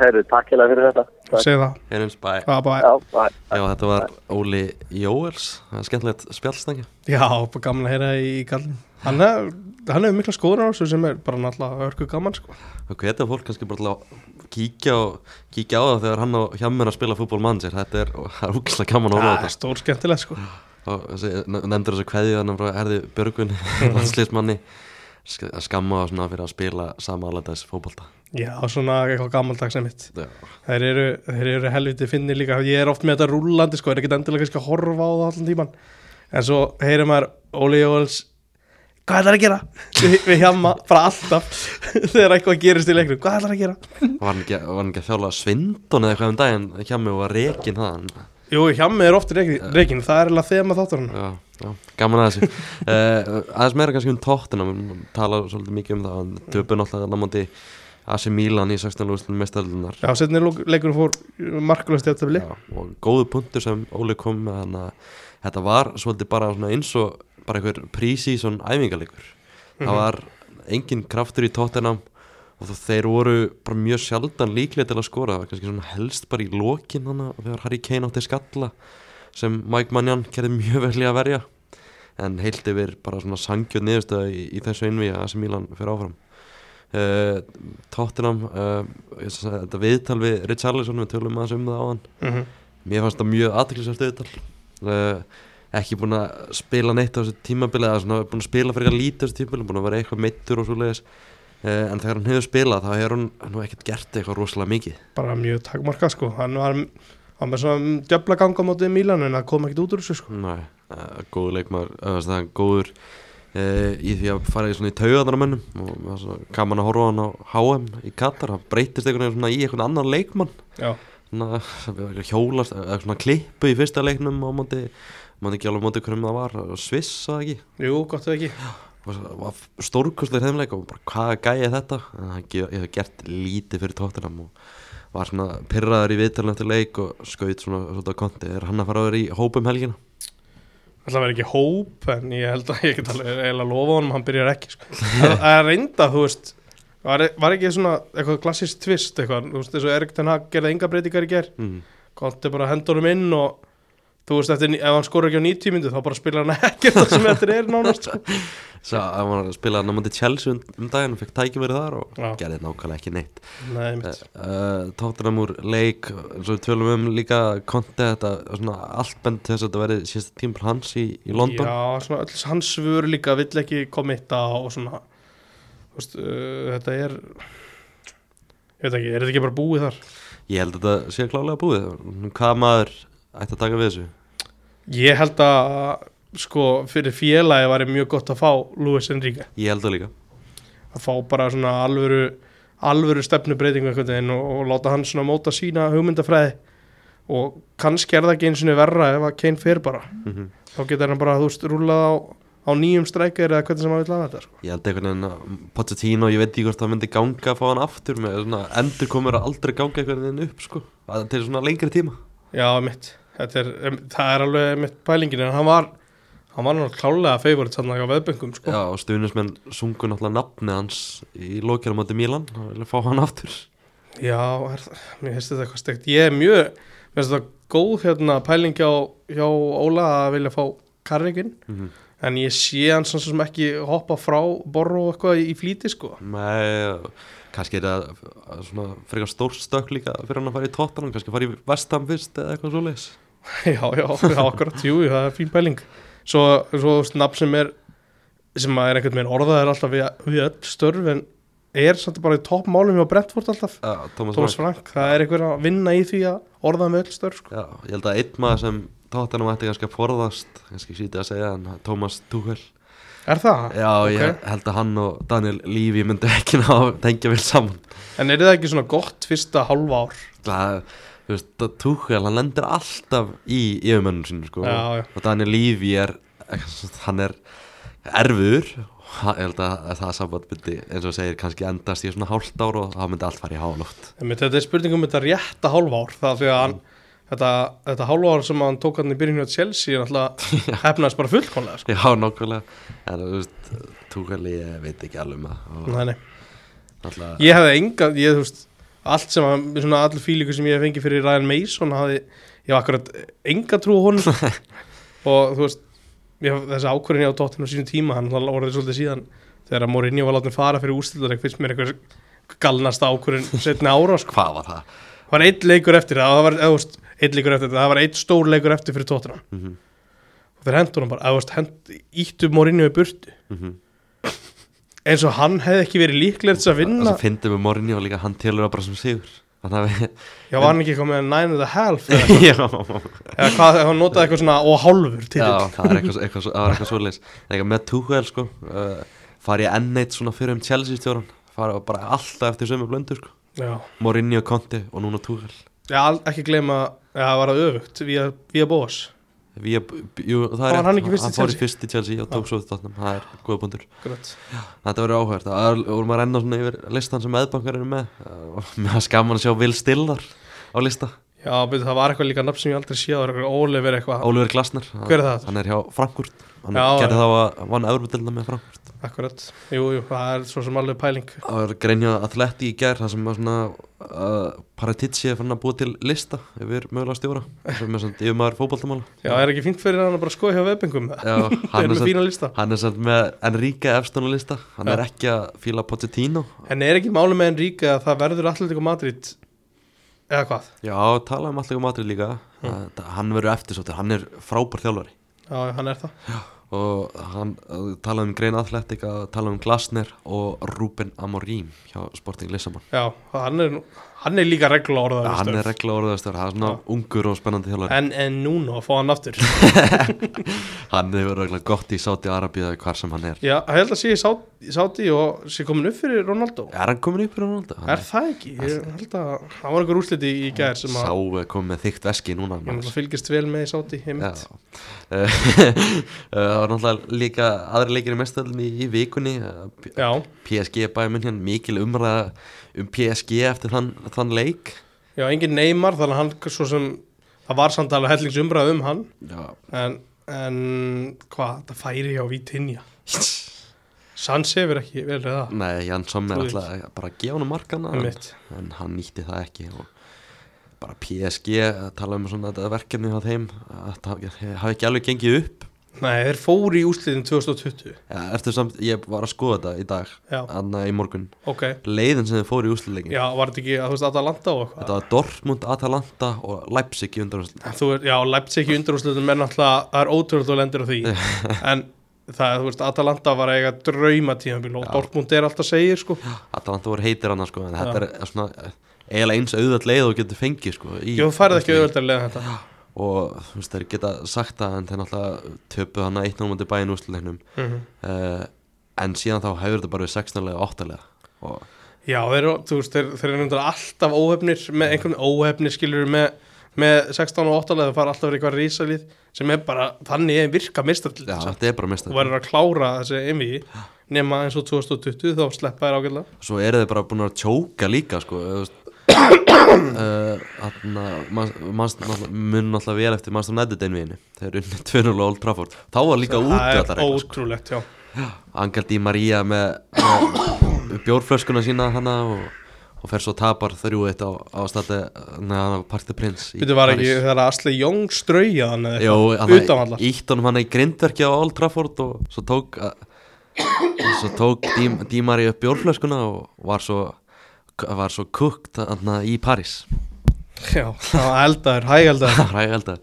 herru, takk hérna fyrir þetta Takk. Segðu það, Einhvers bæ bye bye já, bæ Já, þetta var Óli Jóels Það er skemmtilegt spjallstækja Já, bara gaman að heyra í gallin Hann, er- hann hefur mikla skoður á þessu sem er bara náttúrulega örku gaman sko. Og hvetja fólk kannski bara til að kíkja, og, kíkja á það þegar hann á hjá mér að spila fútból mann sér Þetta er, það er úkislega gaman að Það horfa á er Ah, stór skemmtilegt sko. þetta Og þessi- ne- nefndir þessu kveðju hann frá Herði Björgun Landsliðsmanni sk- að skamma á svona fyrir að spila samanlega fótbolta Já, svona eitthvað gamaldags emitt Já, Þeir eru, þeir eru helviti finni líka Ég er oft með þetta rúllandi sko, er ekkert endilega kannski að horfa á það allan tíman En svo heyrir maður Óli Jóhels Hvað ætlar að gera? Við, við hjama bara alltaf Þegar eitthvað gerist í leiknum Hvað ætlar að gera? var hann ekki, var hann ekki að þjála svindon eða eitthvað um daginn hjá mig og var rekin þaðan Jú, hjami er oft reikin Það er alveg þema þáttur hann Já, já, gaman að þessu uh, Aðeins meira kannski um tóttina Við tala svolítið mikið um það Töpun alltaf að námandi AC Milan í 16. lústin mestarlunar Já, setnir leikurinn fór markulast í þetta blið og góðu punktur sem Óli kom með þannig að þetta var svolítið bara svona eins og bara einhver prísíson æfingarleikur það var engin kraftur í tóttinam og þó- þeir voru bara mjög sjaldan líklega til að skora, það var kannski svona helst bara í lokin þannig að þegar Harry Kane átti skalla sem Mike Mannion gerði mjög vel í að verja en heilt yfir bara svona sangjöð niðurstöða í, í þessu innví að AC Milan fyrir áfram uh, Tottenham uh, ég sem sagði, þetta viðtal við Richarlison við tölum aðeins um það á hann mm -hmm. Mér fannst það mjög aðteklisvært auðvitað uh, Ekki búin að spila neitt á þessu tímabili eða svona búin að spila fyrir eitthvað lítið á þessu tímabili búin að vera eitthvað meittur og svo leiðis uh, En þegar hann hefur spilað þá hefur hann nú ekkert gert eitthvað rosalega mikið bara mjög takmarka sko hann var, hann var með svona djöfla ganga á mótið Milan en það kom ekkert út úr þessu sko Nei, uh, góður leikmaður, uh, það er góður uh, í því að fara í svona í taugaðar á mönnum og það var svona gaman að horfa á hann á HM í Katar, hann breytist einhvern veginn svona í einhvern annan leikmann já, svona, hjólast, eða svona klippu í fyrsta leiknum á móti, maður ekki alveg á móti hverjum það var, Sviss það ekki jú, gott eða ekki Og svo var stórkostleir heimleik og bara hvað gæði þetta en hann ge- hefur gert lítið fyrir tóttunum og var svona pyrraður í viðtalinu eftir leik og skaut svona svona konti er hann að fara að vera í hópum helgina alltaf verið ekki hóp en ég held að ég get alveg eiginlega lofa honum hann byrjar ekki sko. að að reynda, þú veist var, var ekki svona eitthvað klassist tvist eitthvað, þú veist, þessu Erik Ten Hag gerði enga breytingar í ger, mm. konti bara hendurum inn og þú veist, eftir, ní- ef hann skorur ekki á 90 myndu þá bara spilar hann ekkert það sem eftir er nánast sko. svo að hann var að spila hann á móti Chelsea um, um daginn og fekk tækifæri þar og Já. gerði nákvæmlega ekki neitt Nei, mitt, uh, Tottenham úr leik eins og við tölum um líka konti þetta svona allt bent til þess að þetta verði síðasta tímpur hans í, í London já, svona öll hans svör líka vill ekki komitta og svona þú veist, uh, þetta er ég veit ekki, er þetta ekki bara búið þar ég held að þetta sé klálega búið hvað maður ætti að taka við þessu ég held að sko, fyrir félagi var mjög gott að fá Luis Enrique, ég held að líka að fá bara svona alvöru, alvöru stefnubreitingu einhvern veginn og, og láta hann svona móta sína hugmyndafræði og kannski er það ekki eins og verra ef að Kane fer bara Mhm. þá getur hann bara, þú veist, rúlað á, á nýjum strækir eða hvernig sem hann vil hafa þetta sko. Ég held einhvern veginn að Pochettino, ég veit ekki hvort það myndi ganga að fá hann aftur með svona endur komur að aldrei ganga einhvern veginn upp sko, að, til svona lengri tíma. Já, mitt, þetta er, em, það er alveg mitt pælingin en hann var, hann var náttúrulega klálega favorit sann að á veðböngum sko. Já, og stuðnismenn sungu náttúrulega nafni hans í lokjara móti Mílan, það vilja fá hann aftur. Já, er, það- mér finnst þetta eitthvað stegt ég er mjög, mér finnst þetta góð hérna, pæling hjá, hjá Óla að vilja fá karrikinn Mhm. en ég sé hann svona sem ekki hoppa frá borru og eitthvað í flýti sko. Nei, kannski er það svona frekar stór stökk líka fyrir hann að fara í Tottenham, kannski að fara í Vestham fyrst eða eitthvað svo leis. já, já, já, akkurat, jú, jú, það er fín pæling svo, svo þú veist, nafn sem er sem að er einhvern veginn orðað er alltaf við, við öll störf en er samt bara í toppmálum hjá Brentford alltaf Já, Thomas Thomas Frank. Frank, það er einhver að vinna í því að orða með öll störf sko. Já, ég held að einn maður sem Tottenham ætti kannski að forðast, kannski sýti að segja, en Thomas Tuchel. Er það? Já, ég Ok. held að hann og Daniel Lífi myndi ekki ná að tengja vel saman. En er það ekki svona gott fyrsta hálfa ár? það, þú veist, það Tuchel, hann lendir alltaf í yfirmönnum sínu, sko. Já, já. Og Daniel Levy er, hann er erfur, ég held að það samband myndi, eins og segir, kannski endast í svona hálft ár og það myndi allt fara í hálótt. Einmitt, Þetta er spurning um þetta rétta hálfa ár Það er því að hann, þetta, þetta hálfa ár sem hann tók hann í byrjunni á Chelsea er alltaf hefnaðist bara fullkomlega sko. Já, nokkulega, en þú veist, Tuchel, ég veit ekki alveg um það. Og Nei, nei. Alltaf, Ég hefði enga, ég þú veist allt sem að, svona allir fílingu sem ég hef fengið fyrir Ryan Mason hafði, ég hef akkurat enga trú á honum sko. og þú veist, ég, þessi ákvörðin ég á dottinu á sínum tíma, hann var orðið svolítið síðan þegar að Mourinho var látið fara fyrir úrstildarleik finnst mér einhver galnasta ákvörðin setni ára, sko. hvað var það? Það var einn leikur eftir það, það var, eða, þú veist, einn leikur eftir það, það var einn stór leikur eftir fyrir tóttina Mm -hmm. og þeir hendur hann bara, eða, þú veist, hend, íttu Mourinho í burtu eins og hann hefði ekki verið líklegir til að Það vinna sem fyndi með Morinni og líka hann telur það bara sem sigur. Þannig Já, var hann ekki eitthvað með nine and a half eða, að, já, eða hvað, ef hann notaði eitthvað svona og hálfur til Já, það er eitthvað, eitthvað, það er eitthvað svoleiðis Það er eitthvað með Tuchel sko uh, fari ég enn eitt svona fyrir um Chelsea stjóran fara bara alltaf eftir sömu blöndu sko Já, Morinni og Conte og núna Tuchel já al- ekki gleyma Já, það var það öfugt, via, via bóðs Við, jú, það Var er rétt, hann ekki fyrst í Hann fór í Chelsea? fyrst í Chelsea og tók svo þáttum Það er góða búndur Grönt Þetta verður áhverð Það er, vorum að renna svona yfir listan sem eðbankar eru með uh, og Mér var skaman að sjá Vil Stillar á lista Já, betur, það var eitthvað líka nafn sem ég aldrei sé Það var eitthvað Oliver eitthvað Ólfur Glasner Hver er það? Hann er hjá Frankfurt Hann Já, gerði já. þá að vann Európa-delna með Frankfurt Akkurat, jú, jú, það er svo sem alveg pæling Það var greinja atleti í gær Það sem var svona uh, Paratitsi er fann að búa til lista Yfir mögulega stjóra Sem er svona yfirmaður fótboltamála Já, er ekki fínt fyrir hann að bara skoða hjá webingum Já, Þeir eru er með fína lista. hann er samt með Enrique Efstón á lista Hann er ekki að fíla Pochettino En er ekki máli með Enrík að það verður Atletico Madrid Eða hvað? Já, talaði um allega matrið líka Hm. mm. Hann verður eftirsóttur, hann er frábær þjálfari Já, hann er það og hann uh, talaði um Grein Athletic að talaði um Glasner og Ruben Amorim hjá Sporting Lissamann Já, hann er, nú- hann er líka regla orðað hann er regla orðastur, það er svona ungur og spennandi þjálfari En, en núna að fá hann aftur hann hefur regla gott í Sáti Arabíu eða hvar sem hann er Já, ég held að sé í Sá- í Sáti og sé komin upp fyrir Ronaldo er hann komin upp í Ronaldo? Hann Er það ekki? Ég held að það var einhver úrsliti í gær sem sá að eh, komið með þykkt veski núna ég maður. náttúrulega fylgist vel með í Sáti Já. heimitt. Eh, það var náttúrulega líka aðri leikir í mestöldinni í vikunni eh, P- Já, PSG bæði minn hérna mikil umræða um PSG eftir þann, þann leik já, engin neymar þannig að hann svo sem það var samt alveg hellingsumræð um hann já, en, en hvað, það færi hjá Vítinja Sanns hefur ekki verið það Nei, Jan Sommer Þú veist. alltaf bara að gefa hann markana en, Einmitt. en hann nýtti það ekki og bara PSG að tala um svona þetta verkefni á þeim að það hafi ekki alveg gengið upp Nei, þeir fóru í úrslitin 2020 ja, Ertu samt, ég var að skoða þetta í dag Já. annað í morgun Ok, leiðin sem þið fóru í úsliðleikin já, var þetta ekki að þú veist Atalanta og eitthvað þetta var Dortmund, Atalanta og Leipzig í undanúsliðin En Þú er, já, Leipzig í undirúrslutum er náttúrulega, það er ótrúlega þú lendir á því en það, þú veist, Atalanta var að eiga drauma tímabíl og Dortmund er alltaf segir, sko Ah, Atalanta voru heitir annars sko en þetta er svona eiginlega eins auðvöld leið og þú getur fengið sko í Jú, þú færið ekki úrslitaleik. auðvöldar leðan þetta og þú veist, þeir geta sagt það en þeir náttúrulega töpu hana 1-0 mútið bæinn úrslutleiknum mm Mhm. en síðan þá hefur þetta bara við 16-lega og 8-lega og Já, þeir, eru, þú veist, þeir, þeir eru náttúrulega alltaf óhefnir með einhvern óhefnir skilur með, með 16 og 8 leða fara alltaf verið eitthvað rísalið sem er bara, þannig er virka mistarlið já, þetta er bara mista og verður að klára þessi einvigi nema eins og 2020 þá sleppa þær ágætlega svo eru þeir bara búin að tjóka líka sko eða, þú veist, eh, þarna, man- manst- náttúrulega- mun náttúrulega vel eftir mannstofn nættudeinvíðinu þeir unni 2-0 á Old Trafford þá var líka Það er útgjöldar ótrúlegt, já sko. Angel Di Maria með, með bjórflöskuna sína hana og, og fer svo tapar 3-1 á, á stati neðan á Park the Prince í Býtu var ekki París. þegar Asli Jóng strauja hann eða Jó, eitthvað, utan hann allar ítt honum hann í grindverki á Old Trafford og svo tók a- svo tók Dí- Dímari upp bjórflöskuna og var svo var svo kukt þarna í París Já, það var eldaður, hægeldaður rægaldar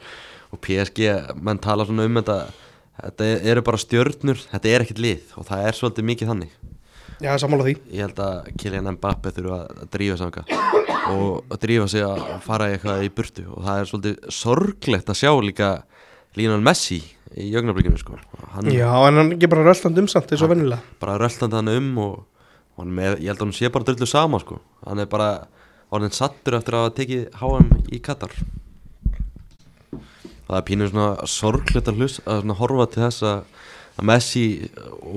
og PSG menn tala svona um þetta þetta eru bara stjörnur, þetta er ekkert lið og það er svolítið mikið þannig Já, sammála því ég held að Kylian Mbappe þurfa að drífa sig þangað og að drífa sig að fara í eitthvað í burtu og það er svolítið sorglegt að sjá líka Lionel Messi í jögnarblikinu sko. hann Já, en hann er ekki bara röltand umsamt eins og vennilega bara röltandi hann um og, og hann með, ég held að hann sé bara drullu sama sko. hann er bara orðin sattur eftir að hafa tekið HM í Katar það er pínur svona sorglegt að hlusta að svona horfa til þess að að Messi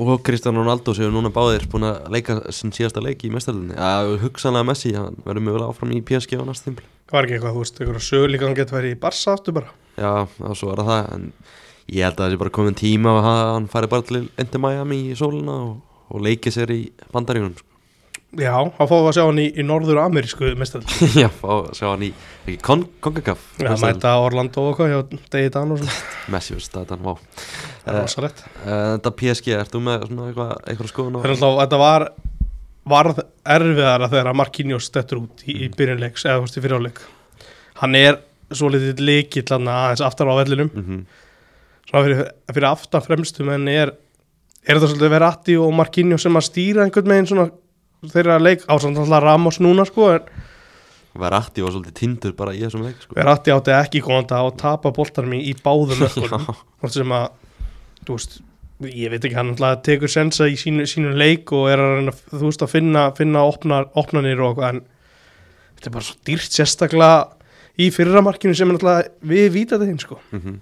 og Cristiano Ronaldo sem núna báðir búin að leika sinn síðasta leik í mestarlinni að hugsanlega Messi, hann verður mögulega áfram í PSG á næsta tímpli Var ekki eitthvað, þú veist, einhverja sögulíka hann getur verið í Barsa aftur bara já, og svo er það en ég held að það sé bara komin tíma að hann fari bara til Inter Miami í sóluna og, og leiki sér í bandaríunum sko. Já, þá fáum við að sjá hann í, í norður amerísku mestal Já, fá að sjá hann í ekki, kon, Kongakaf Já, mæta Orlando og hvað, já, Degi Dan og svona Messi verður statan, vá Það er rosalegt Eh, Þetta PSG, ert þú með svona eitthvað eitthvað skoðun á? Það er alltaf, þetta var varð erfiðara þegar að Marquinhos stettur út í, í Mm. byrjunleiks eða þú veist í fyrirháleik hann er svo litið leikill hann aðeins aftar á vellinum Mhm. svona fyrir, fyrir aftan fremstu menn er er þetta svolítið Verratti og Marquinhos sem að stýra einhvern veginn svona þeirra leik á samt alltaf Ramos núna sko en Verratti var svolítið tindur bara í þessum leik sko. Verratti átti ekki góðan dag og tapa boltanum í, í báðum ökkunum Já. hvort sem að þú veist, ég veit ekki, hann alltaf tekur sensa í sínu, sínu leik og er að reyna þú veist, að finna, finna opnar, opnanir og eitthvað, en þetta er bara svo dýrt sérstaklega í fyrramarkinu sem er alltaf við vita þetta hinn, sko Mhm.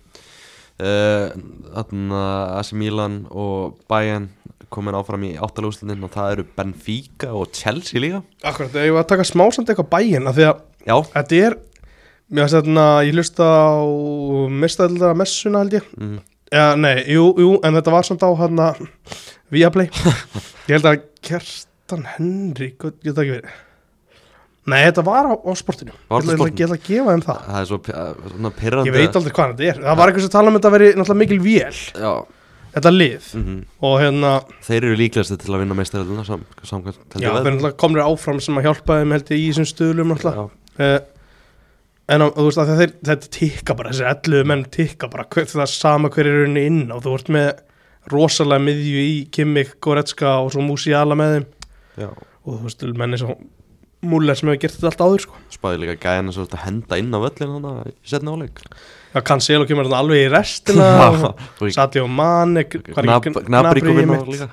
Eh, Þarna AC Milan og Bayern komin áfram í áttalúslinin og það eru Benfica og Chelsea líka Akkurat, ég var að taka smá samt eitthvað bæina því að Já, þetta er Mér finnst þarna, ég hlusta á mistaðildra messuna held ég Mm. Já, nei, jú, jú, en þetta var samt á hann að Viaplay Ég held að Kjartan Henry, hvað geta ekki verið Nei, þetta var á, á sportinu Ég Var þetta ætla, ég ætla- sportinu? ég ætla að gefa þeim það Það er svo pi- að- svona pyrrandi Ég veit aldrei hvað þetta er Það var eitthvað sem tala um þetta að veri náttúrulega mikil vél Já, Þetta lið mhm. Og hérna, þeir eru líklegasti til að vinna meistaröldina sam, samkvæmt held ég já, veðri. það er náttúrulega komnir áfram sem að hjálpa þeim held ég í þessum stöðlum náttúrulega Já. uh, en á, þú veist að þeir, þetta tikka bara þessi ellu menn tikka bara hver, það er sama hver er unni inn og þú ert með rosalega miðju í Kimmich, Goretzka og svo Musiala með þeim Já. og þú veist, menn eins og Muller sem hefur gert þetta allt áður sko Spæði líka gæðina svo að henda inn á völlin þannig í setna áleik Já, Cancelo kemur þarna alveg í restina og Sadio Mane hvað er ekki- Gnabri kom inn á einmitt. líka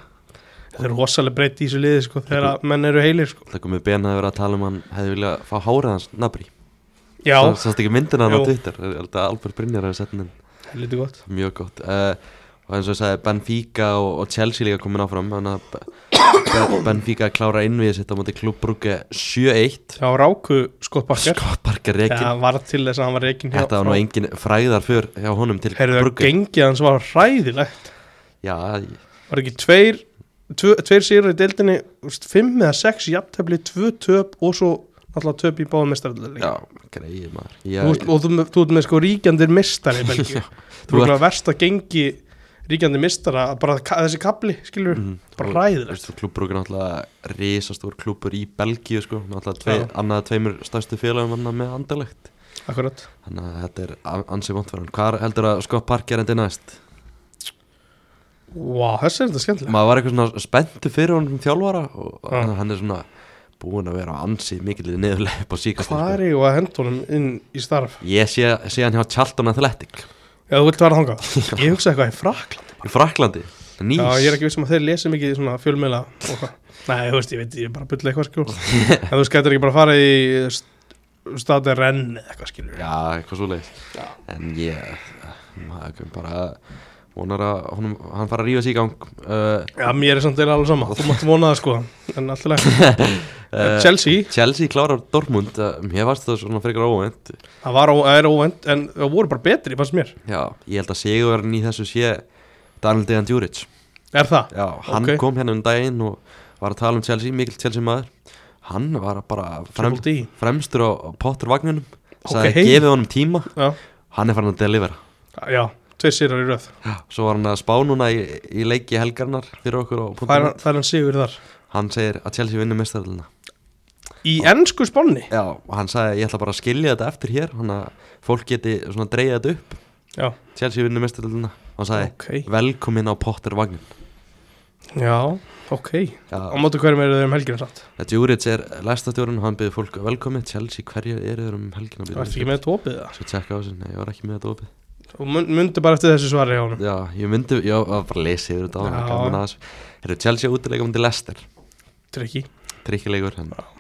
Þetta er rosalega breytt í þessu liði sko þegar að menn eru heilir sko Það komið benað að vera að tala um hann hefði viljað fá hárið hans Gnabri Já, Það sást ekki myndina hann á Jú. Twitter Ég held að Albert Brynjar hefði sett hann inn lítið gott Mjög gott uh, Og eins og ég sagði Benfica og, og Chelsea líka komin áfram Þannig að Be- Be- Benfica klára innviðið sitt á móti klubbrúke 7-1 Já, Ráku skottbakkar Skottbarkar Já, rekin var til þess að hann var reikin Þetta var nú engin fræðar fyrr hjá honum til Heyrðu að brugge gengið hans var hræðilegt Já, ég- Var ekki tveir tve, Tveir sýrur í deildinni þú veist, Fimm eða sex jafntefli, tvö töp Og svo alltaf töp í báðum mestarlega já, greið maður Þú veist, Ég, og þú, þú ert með sko ríkjandir mistari í Belgíu. Þú Þú ert með verst að gengi ríkjandi mistara að bara ka- þessi kapli, skilur Mhm. bara Og, ræðilegt veistu, klúbbrúk er náttúrulega risastór klúbur í Belgíu sko, náttúrulega tvei, Já. annað tveimur stærstu félagum annað með andalegt Akkurat. þannig að þetta er a- ansi vont fyrir hann hvað heldur að Scott Parker endi næst Vá, þessi er þetta skemmtilega maður var eitthvað svona spenntu fyrir honum sem þjálfara og Já. hann er svona búinn að vera á ansi mikil í niðurlega upp á síkast Hvað er ég að henda honum inn í starf? ég sé, sé hann hjá Charlton Athletic Já, þú vilt vera þangað Ég hugsa eitthvað í Frakland í Fraklandi, nýs Já, ég er ekki vissum að þeir lesi mikið svona fjölmiðla og hvað. Nei, þú veist, ég veit, ég er bara að bylla eitthvað skjól En þú veist, gætir ekki bara að fara í staði renn eða eitthvað skilur já, eitthvað svo en ég, eh, maður bara vonar að honum, hann fara að rífa sig í gang uh, Já, mér er samt eða alveg sama, þú mátt vona það sko En alltaf leik Eh, Chelsea, Chelsea klárar Dortmund eh, Mér varst það svona frekar óvænt það var ó, það er óvend En það voru bara betri, fannst mér Já, ég held að sigurverðin í þessu sé Daniel Dejan Djuric Er það? Já, hann Ok. kom hérna um daginn og var að tala um Chelsea, mikil Chelsea maður Hann var bara Triple D fremstur á á potturvagninum sagði Ok. gefið honum tíma Já, Hann er farin að delivera já tveir sérar í röð Já, Svo var hann að spá núna í, í leiki helgarnar fyrir okkur á Það er, punktum það er hann sigur þar Hann segir að Chelsea vinnur mestarðalina Í ennsku spánni Já, og hann sagði ég ætla bara að skilja þetta eftir hér hann að fólk geti svona dreigja þetta upp Já, Chelsea vinnur mestaröldina og hann sagði Ok. velkomin á Potter vagnin já, ok Á Já, móti hverjum eru þeir um helgina satt Djuric er læstastjórun og hann byrði fólk velkomin Chelsea, hverju eru þeir um helgina Það er ekki með þetta opið það Svo tjekka á þessu, nei, ég var ekki með þetta opið Og mun- mundu bara eftir þessu svari hjá honum Já, ég myndi, já, það var bara að lesa yfir þetta á hann Já. Gaman að þessu Herru, Chelsea útileika myndi Lester Tryggi Tryggilegur, en hérna.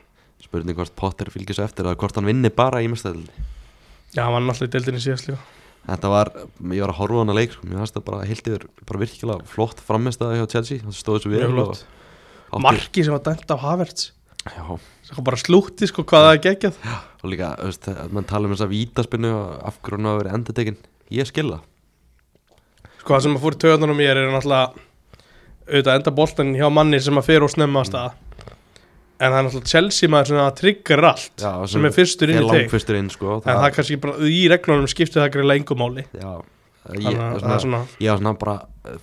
spurning hvort Potter fylgir svo eftir eða hvort hann vinni bara í mestaröldinni Já, hann var náttúrulega í deildinni síðast líka Þetta var, ég var að horfa á hana leik, sko, mér fannst það bara heilt yfir, bara virkilega flott framistæði hjá Chelsea, það stóð þessu Mjög vel flott. Marki sem var dæmt af Havertz og, já, Svo bara slútti sko hvað það er geggjað og líka, þú veist, að mann tala um þessa vítaspinnu og af hverju hann hafa verið endatekin ég skil það, Sko það sem að fór í töðunum mér er náttúrulega auðvitað enda boltan hjá manni sem að fer og snemma að staða En það er náttúrulega Chelsea maður sem að trigger allt Já, sem, er fyrstur inn er í teg langfyrstur inn, sko En það er kannski bara í reglunum skiptið það greiðlega engum máli já, ég, Þannig að það svona, er svona ég var svona bara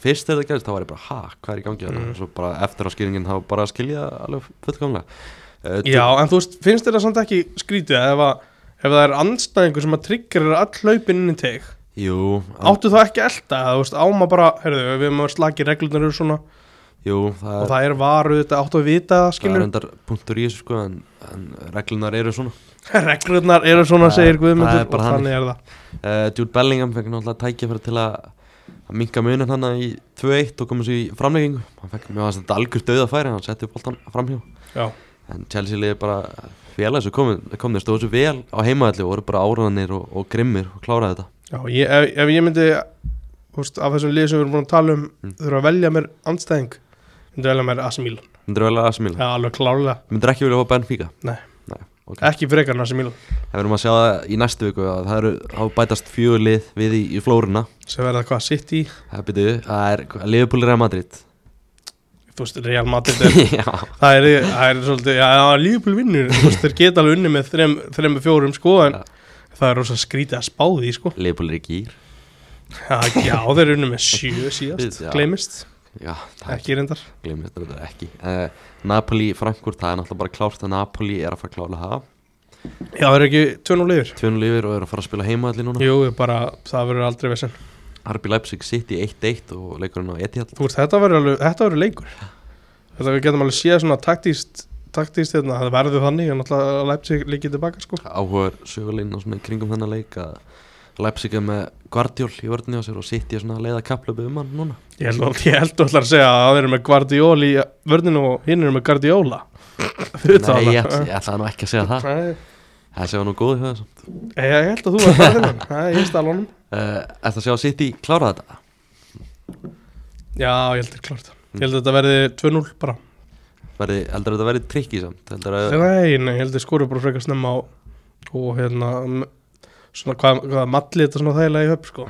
fyrst þegar það gerðist, þá var ég bara, ha, hvað er í gangi mm. svo bara eftir á skýringin, þá bara skilja það alveg fullkomlega uh, Já, en þú veist, finnst þér það samt ekki skrítið ef, að, ef það er andstæðingur sem að triggerir all hlaupin inn í teg jú, en, Áttu þá ekki að elta, eða, þú veist, áma bara, heyrðu, við erum að slagi reglunar eru svona jú, það og er það er varu þetta áttu að vita það, það er skilur endar punktur í þessu, sko en, en reglunar eru svona reglunar eru Það svona er- segir það Guðmundur er og bara þannig, þannig. er það uh, Jude Bellingham fekk náttúrulega tækja fyrir til að að minka munin hann í 2-1 og komið sér í framleggingu hann fekk mjög að þetta algjör döða færi hann setti boltan framhjá já, en Chelsea liði bara félags og komið kom þeir stóðu svo vel á heimaðalli og voru bara áraðanir og, og grimmir og kláraði þetta já ég, ef, ef ég myndi þú veist, af þessum lið sem við erum búin að tala um Mm. þurfa að velja mér andstæðing myndi velja mér Asimil, myndir vel að Asmíla ja, alveg klárlega myndir ekki vilja fá Benfica Nei. Nei, ok. ekki frekar en Asimil Það verðum að sjá það í næstu viku að það eru að bætast fjölið við í, í flóruna sem verða hvað, City, Það byrju, það er Liverpool Real Madrid þú veist, Real Madrid er, Já, það, er, það er svolítið, já, já, Liverpool vinnur þú veist, þeir geta alveg unni með þrem, þrem fjórum sko, en Já. það er rosa skrítið að spá því sko. Liverpool er í gýr já, já, þeir eru unni með sjö síðast, Já. gleymist Já, það er ekki reyndar, glimist, þetta er ekki uh, Napoli, Frankfurt, það er náttúrulega bara klárt að Napoli er að fara að klála það já, það eru ekki 2-0 yfir, Tvönu lifir og er að fara að spila heima allir núna jú, bara það verður aldrei vesen, Arby Leipzig City 1-1 og leikurinn á Etihad þú veist, þetta verður alveg- þetta verður leikur, þetta við getum alveg séð svona taktíst, taktíst hérna, það verður þannig, en náttúrulega Leipzig líkið tilbaka sko, áhugaður söguleginn og svona í kringum þennan leik að Leipzig er með Guardiol í vörðinni á sér og City er svona að leiða kaplöpu um hann núna ég held, að- ég held að ætlar að segja að það eru með Guardioli í vörninu og hinn eru með Guardiola Utan Nei, ég, það. ætla- ég ætlaði nú ekki að segja það Nei, Það sé nú góð í höfðu samt Ég ég held að þú var það þennan Það er ég stál honum uh, Ætla að sjá City klára þetta Já, ég held að klárt Ég held að þetta verði 2-0 bara verði, heldur að þetta verði trikki samt heldur að, Nei, nei, ég held að skoru bara frekar snemma á Og hérna m- Svona hvað, hvað malli þetta svona þægilega í höfn sko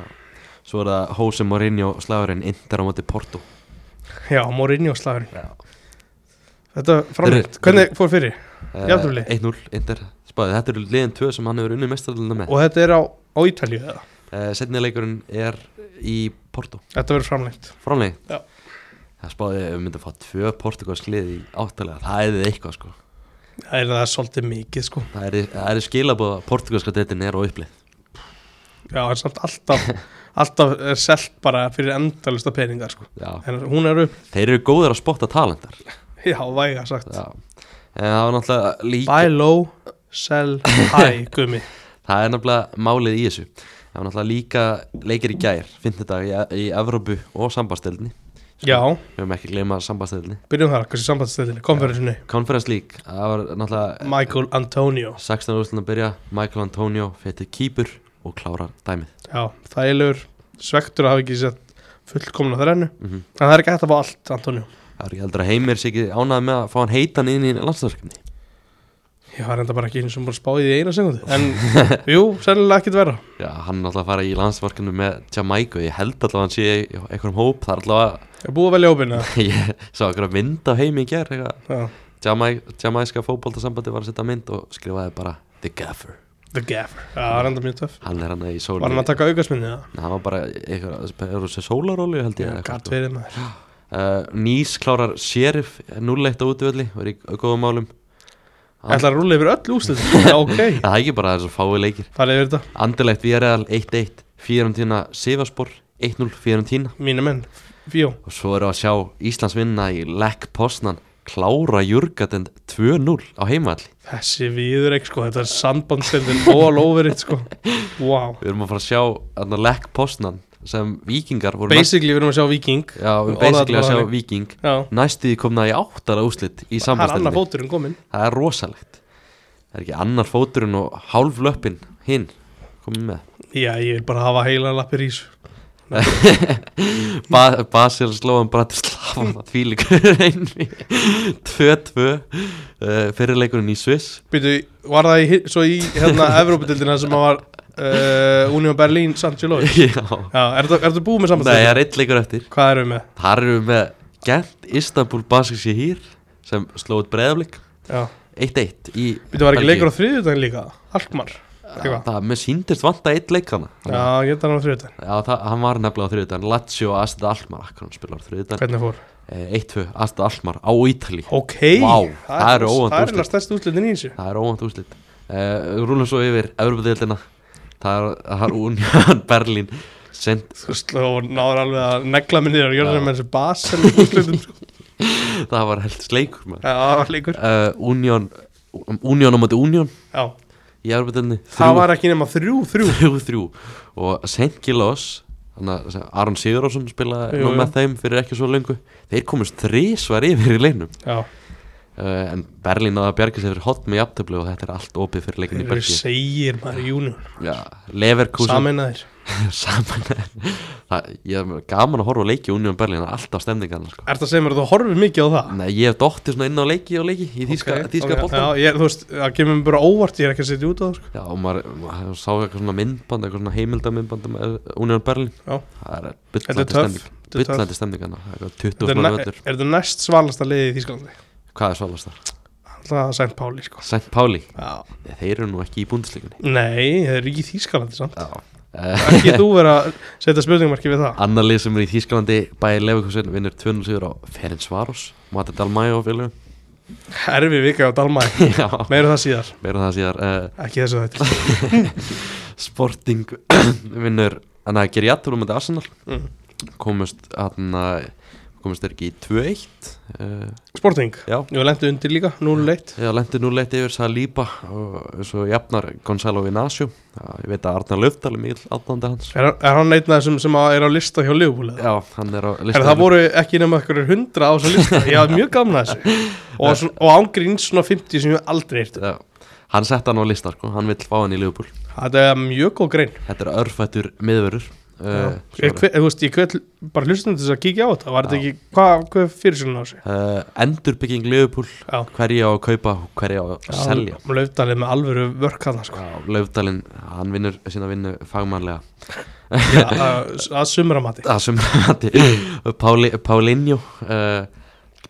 svo er það Jose Mourinho slagurinn Inter á móti Porto Já, Mourinho slagurinn Já. Þetta framleitt Þeir- Hvernig fór fyrir? Eh, Jafntefli. 1-0 Inter spáði, þetta eru liðin tvö sem hann hefur unnið mestarluna með Og þetta er á, á Ítalíu eða uh, setni leikurinn er í Porto Þetta verður framleitt frámlegin Já. það spáði ef við myndum að fá tvö portugals lið í áttalega það er eitthvað sko Það er það er svolítið mikið sko það er, það er skilabóð að portugalska detin er á upplið Já, það er samt alltaf Alltaf er selt bara fyrir endalista peningar sko Já. En hún er upp þeir eru góðir að spotta talentar Já, væga sagt Já. en það var náttúrulega líka Buy low, sell high, gummi Það er náttúrulega málið í þessu Það var náttúrulega líka leikir í gær Fyndidag í, í Evrópu og sambastöldinni Já, Við höfum ekki gleyma sambastöldinni byrjum þar, hversu sambandstöðinni, konferensinu Conference League, það var náttúrulega Michael Antonio 16 úrslutin að byrja Michael Antonio fyrir kýpur og klárar dæmið Já, þægilegur, svektur að hafa ekki sett fullkomna þrennu Mhm. En það er ekki hægt að fá allt, Antonio Það er ekki heldur að heimir sé ekki ánað með að fá hann heitan inn í landslagsverkefni Ég var enda bara ekki eins og bara spáði því í eina segundu En jú, sennilega ekkit vera Já, hann er náttúrulega að fara í landslagsverkefni með Jamaica Ég held allavega að hann sé í einhverjum hóp Það er allavega, Ég er búið að velja ópina ég sá einhverja mynd af heimi í gær eitthvað. Já, Jamaí- Jamaiska fótboltasambandi var að setja mynd og skrifaði bara The Gaffer The Gaffer Já, það er enda mjög töff Hann er hann í sólu Var hann að taka aukasminni það? Nei, hann var bara eitthvað, er þessi sólarólu held ég Já, eða eitthvað, gatt sko. verið maður uh, Nýs klárar Sheriff 0-1 á útvöldi og er í góðum málum Hann- Ætlar að rúla yfir öll úrslitin Já, ok Það er ekki bara þess að fái leikir Farið yfir þetta, Andilegt VRL 1-1 Fiorentina Sivaspor 1-0 Fiorentina mínu menn Fjó og svo eru að sjá Íslands vinna í Lekk Posnan klára Jurgatend 2-0 á heimavalli Þessi viður ekki sko, þetta er sambandstildin all over it sko Wow Við erum að fara að sjá þarna, Lekk Posnan sem vikingar voru Basically við erum að sjá Viking næst, Já, við erum Orðaðu basically að bara sjá þannig. Viking Já, næstuði komna í áttara úslit í það er annar sambandstöldinni fóturinn kominn Það er rosalegt Það er ekki annar fóturinn og hálf löppin hinn komið með Já, ég vil bara hafa heila lappir í þessu ba Basel slóðan Bratislava tvílíkur einni 2-2 uh, fyrirleikurinn í Sviss Býtu, var það í, hi- svo í hérna Evrópudildina sem að var uh, Union Berlin, San Giloi Já, Já, er þetta búið með nei, það sambandstildin? er einn leikur eftir Hvað erum við með? Þar erum við með Gent, Istanbul, Basel sé hýr sem slóð breðaflik Já, 1-1 í býtu, var ekki Belgíu. leikur á þriðjudaginn líka? Alkmar, eitthvað Það, mér síndist vanta eitt leikana Já, ég þannig á þriðjudaginn, Já, það, hann var nefnilega á þriðutan Lazio og Astrid Almar, akkur hann spilar á þriðutan hvernig fór? Eh, 1-2 Astrid Almar á Ítali Ok, Vá, það eru óvænt úrslit. Það er eiginlega stærst úrslitin í þessu Það er óvænt úrslit uh, Rúlum svo yfir Evropadeildina Það er, það er Union Berlin send, Þú veist, og náður alveg að negla minni og gjörða með þessu basel úrslitum sko. Það var held sleikur maður. Já, það var leikur uh, Union um, Union á móti Union Já, í Evropadeildinni það var ekki nema þrjú, þrjú 3-3 Og St. Gilós Aron Sigurðarsson spilaði Jú, nú jú. með þeim fyrir ekki svo lengu Þeir komist þrísvar yfir í leinum Já, uh, en Berlín náða að bjarga sér fyrir hot með jafntöflu og þetta er allt opið fyrir leikin í Þeir eru Berlín segir maður í júni Já, Leverkusen Saminnaðir saman það, ég er gaman að horfa á leiki Union Berlin, það er alltaf stemningan sko. Er það sem er þú horfir mikið á það? Nei, ég hef dóttið svona inn á leiki og leiki í þýska, Ok, okay, þýska ok. okay, Já, ég, þú veist, það kemur mér bara óvart Ég er ekki að setja út á það sko. Já, og maður, maður sá eitthvað svona myndband eitthvað svona heimildamindband um eh, Union Berlin Já. það er Þetta er byllandi töff, stemning þetta er töff. byllandi stemning hana, eitthvað 20 Þetta er, svona ne- völdur er þetta næst svalasta liðið í Þýskalandi? hvað er svalast þar? Alltaf Sænt Páli sko. St. Pauli, Já. þeir eru nú ekki í búndisleikunni Nei, það er ekki í Þýskalandi samt Já Ekki þú vera að setja spurningamarki við það Eh, Annar lið sem er í Þýskalandi bæði Leverkusen vinnur 200 sigur á Ferencvaros Mata Dalmæ og félögum Erfi vika á Dalmæ Já, Meira um það síðar, meira það síðar uh, ekki þessu þetta Sporting vinnur Þannig að gera jættur um þetta Arsenal Mm. Komust hann Komust þeir ekki í 2-1 uh, Sporting, Já, ég lendi undir líka 0-1 Já, lendi nú leitt yfir Saliba og svo jafnar Gonzalo Vinasio Já, Ég veit að Arnar Löftal er mikil aðdandi hans Er, er hann einn af þessum sem að er á lista hjá Liverpool? eða? Já, hann er á Er það voru ekki nema ykkur hundra á þessu lista Ég hafði mjög gamna þessu Og, svona- og ángrín svona 50 sem ég aldrei eirt Já, hann sett hann á lista sko, hann vill fá hann í Liverpool Þetta er mjög góð grein Þetta er örfættur miðvörur uh, uh, ég, hve, þú veist, ég hvet bara hlustum til þess að kíkja á þetta Var þetta ekki, hvað hva fyrir svona á sig? uh, Endurbygging Liverpool Já. Hverja á að kaupa, og hverja á að selja Laufdalið með alvöru vörk hann sko. Já, Laufdalinn, hann vinnur sína vinnu fagmannlega Já, að, að sumramati Það sem hætti Páli, Pálinjó uh,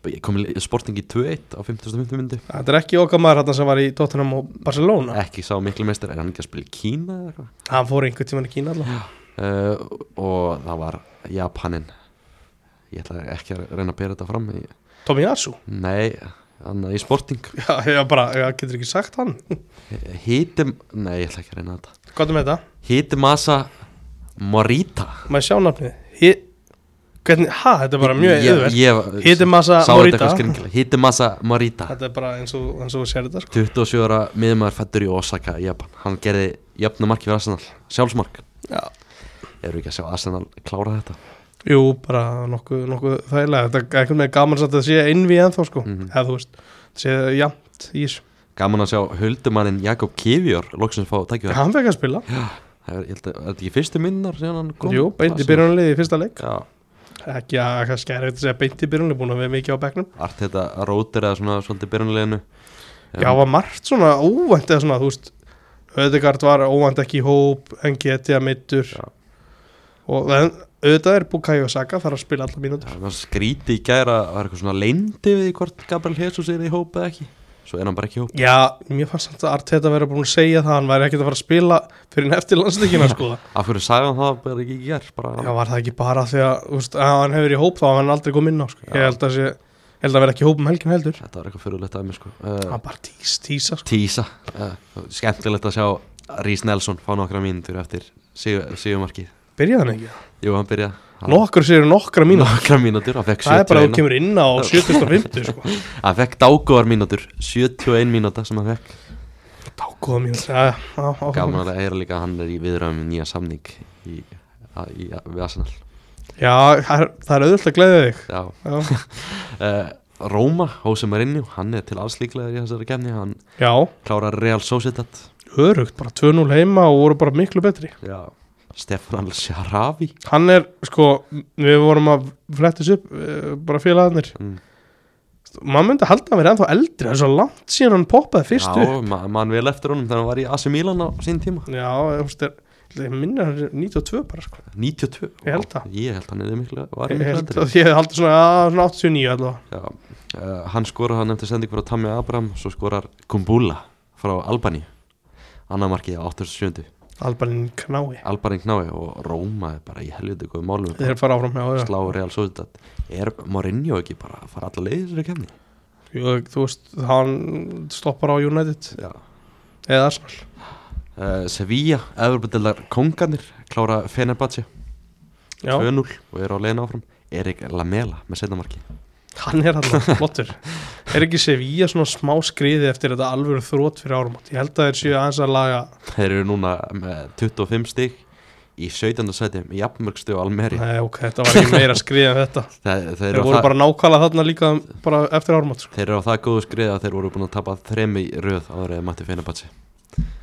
ég kom í sporting í 2-1 á 55. myndi Þetta er ekki okkar maður hann sem var í Tottenham og Barcelona Ekki sá miklu meistar, er hann ekki að spila í Kína eða eitthvað Hann fór einhvern tímann í Kína allavega uh, Og það var Japanin Ég ætla ekki að reyna að bera þetta fram ég, Tommy Asu Nei, hann í sporting Já, ég bara, ég getur ekki sagt hann Hítim, nei ég ætla ekki að reyna þetta Hvað er með þetta? Hítimasa Morita Maður sjá nafnið Hi- Hvernig, ha, þetta er bara mjög yfir Hitemasa Morita. Morita Hítimasa Morita Þetta er bara eins og, eins og þú sér þetta sko. 27 ára miðumæður fættur í Osaka í Japan Hann gerði jöfnum marki fyrir Arsenal Sjálfsmark Já. Eru ekki að sjá Arsenal klára þetta Jú, bara nokkuð, nokkuð þægilega Þetta er einhvern veginn gaman samt að þetta sé innví ennþá sko. Mhm. Eða þú veist, þetta sé jafnt í þessu Gaman að sjá huldumannin Jakob Kivjór Lóksins fá tækjum Hann fekk að spila Það er, ég held að, er þetta ekki fyrstu minnar sem hann kom? Jú, beint í Arsenal? byrjunarliði í fyrsta leik Já, Ekki að kannski er hægt að segja beint í byrjunarliði Búin að við mikið á bekknum allt þetta rótir eða svona svolítið byrjunleginu Já, var margt svona óvænt eða svona, þú veist Ödegard var óvænt ekki í hóp en getið að mittur Já. og en, auðvitað er Bukayo Saka þarf að spila allar mínútur Það var skríti í gæra Það var eitthvað svona leyndi við því hvort Gabriel Jesus er í hópa eða ekki Svo er hann bara ekki í hópa Já, mér fannst samt að Arteta verið búin að segja það hann væri ekkert að fara að spila fyrir en eftir landsleikina sko Af hverju sagði hann það bara ekki í gær bara, Já, var það ekki bara því að, þú veist, að hann hefur í hóp þá var hann aldrei kom inn á sko. Já. ég held að, sé, ég held að vera ekki í hóp um helgin heldur Þetta var eitthvað fyrirlegt af mér sko uh, hann bara tís, tísa sko. Tísa uh, Skemmtilegt að sjá Rís Nelson fá nokkra mínútur eftir sigur- sigurmarkið byrjaði hann ekki Jú, hann byrja nokkur séu nokkra mínu Nokkra mínútur, hann fekk það er bara að þú 71 kemur inn á 750 sko. Hann fekk dágóðar mínútur 71 mínúta sem hann fekk dákóða mínu já, já, áfram. Gaman að heyra líka að hann er í viðræðum um nýja samning í, að, í, við Arsenal já, það er- það er auðvitað að gleyða þig Já já, uh, Róma, Jose Mourinho, hann er til alls líklegaður í þessari kemni, hann já klárar Real Sociedad örugt, bara 2-0 heima og voru bara miklu betri Já Stefan Al-Sharavi hann er, sko, við vorum að flettis upp, eh, bara félagarnir Mm. maður myndi halda að vera ennþá eldri það er svo langt síðan hann poppaði fyrst upp Já, ma mann vel eftir honum þegar hann var í AC Milan á sín tíma já, þú veist, er- ég minna hann er 92 bara, sko 92 Ég held það. Ég held hann er miklu, var ég miklu held eftir að ég haldi svona, að, svona 89 allavega Já uh, Hann skorar, hann eftir sending frá Tammy Abraham Svo skorar Kumbula frá Albani Anna markið á 87 Albanin knái, Albani knái og Róma er bara í helviti góðum málum þeir fara áfram já, já. Slá Real Sociedad Er Mourinho ekki bara að fara alla leið í þessari kemni? Jú, þú veist, hann stoppar á United Já eða Arsenal Uh, Sevilla, Evropadelar Konganir klára Fenerbahce já, 2-0 og eru á leiðin áfram Erik Lamela með setnamarki hann er allavega flottur er ekki Sevilla svona smá skriði eftir þetta alvöru þrótt fyrir árum ég held að þeir séu aðeins að laga Þeir eru núna með 25 stig í 17. sæti með jafnmörgstu og Almeri Nei, ok, þetta var ekki meira skrið en þetta þeir, þeir, Þeir eru á voru það, bara nákvæmlega þarna líka bara eftir árum sko. þeir eru á það góðu skrið að þeir voru búin að tapa þremi í röð áður eða mætti Feinabatsi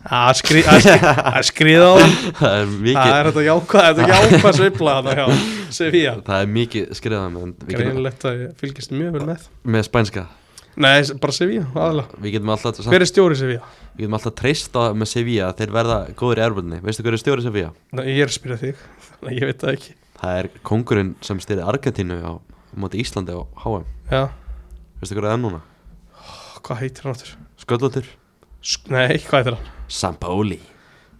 Að skri- að skri- að skriða á þeim það er Það er mikið, þetta jákvæð, þetta er jákvæð svipla þarna hjá Sevilla það er mikið skriðað en við getum, Greinilegt að ég fylgist mjög vel með með spænska Nei, bara Sevilla, aðalega við getum alltaf, samt, Hver er stjóri Sevilla? við getum alltaf treysta með Sevilla að þeir verða góður í erfurni veistu hver er stjóri Sevilla? Nei, ég er að spyrja þig, þannig að ég veit það ekki það er kongurinn sem styrir Argentínu á móti Íslandi á HM Já, veistu hver er það núna? Ó, hvað heitir hann áttur? Sköllotur? Nei, hvað heitir hann? Sampoli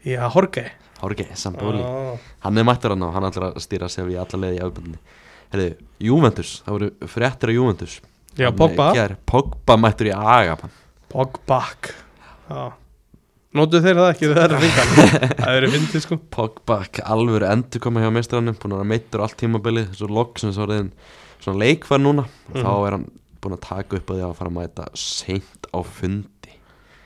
Já, Jorge Ah. Jorge Sampoli Ó, hann er mættur hann og hann ætlar að stýra sér við alla leiði í afbundinni Herðu, Juventus, það voru fréttir á Juventus Já, Hann, Pogba. eh, ger, Pogba mættur í Agapan Pogbak Já Nótuðu þeir það ekki þegar það er ringan Það eru fyndið sko Pogba, alvöru endur koma hjá meistranum búin að vera meittur allt tímabilið svo loksins orðin svona leikvar núna og þá Mhm. er hann búin að taka upp að því að fara að mæta seint á fundi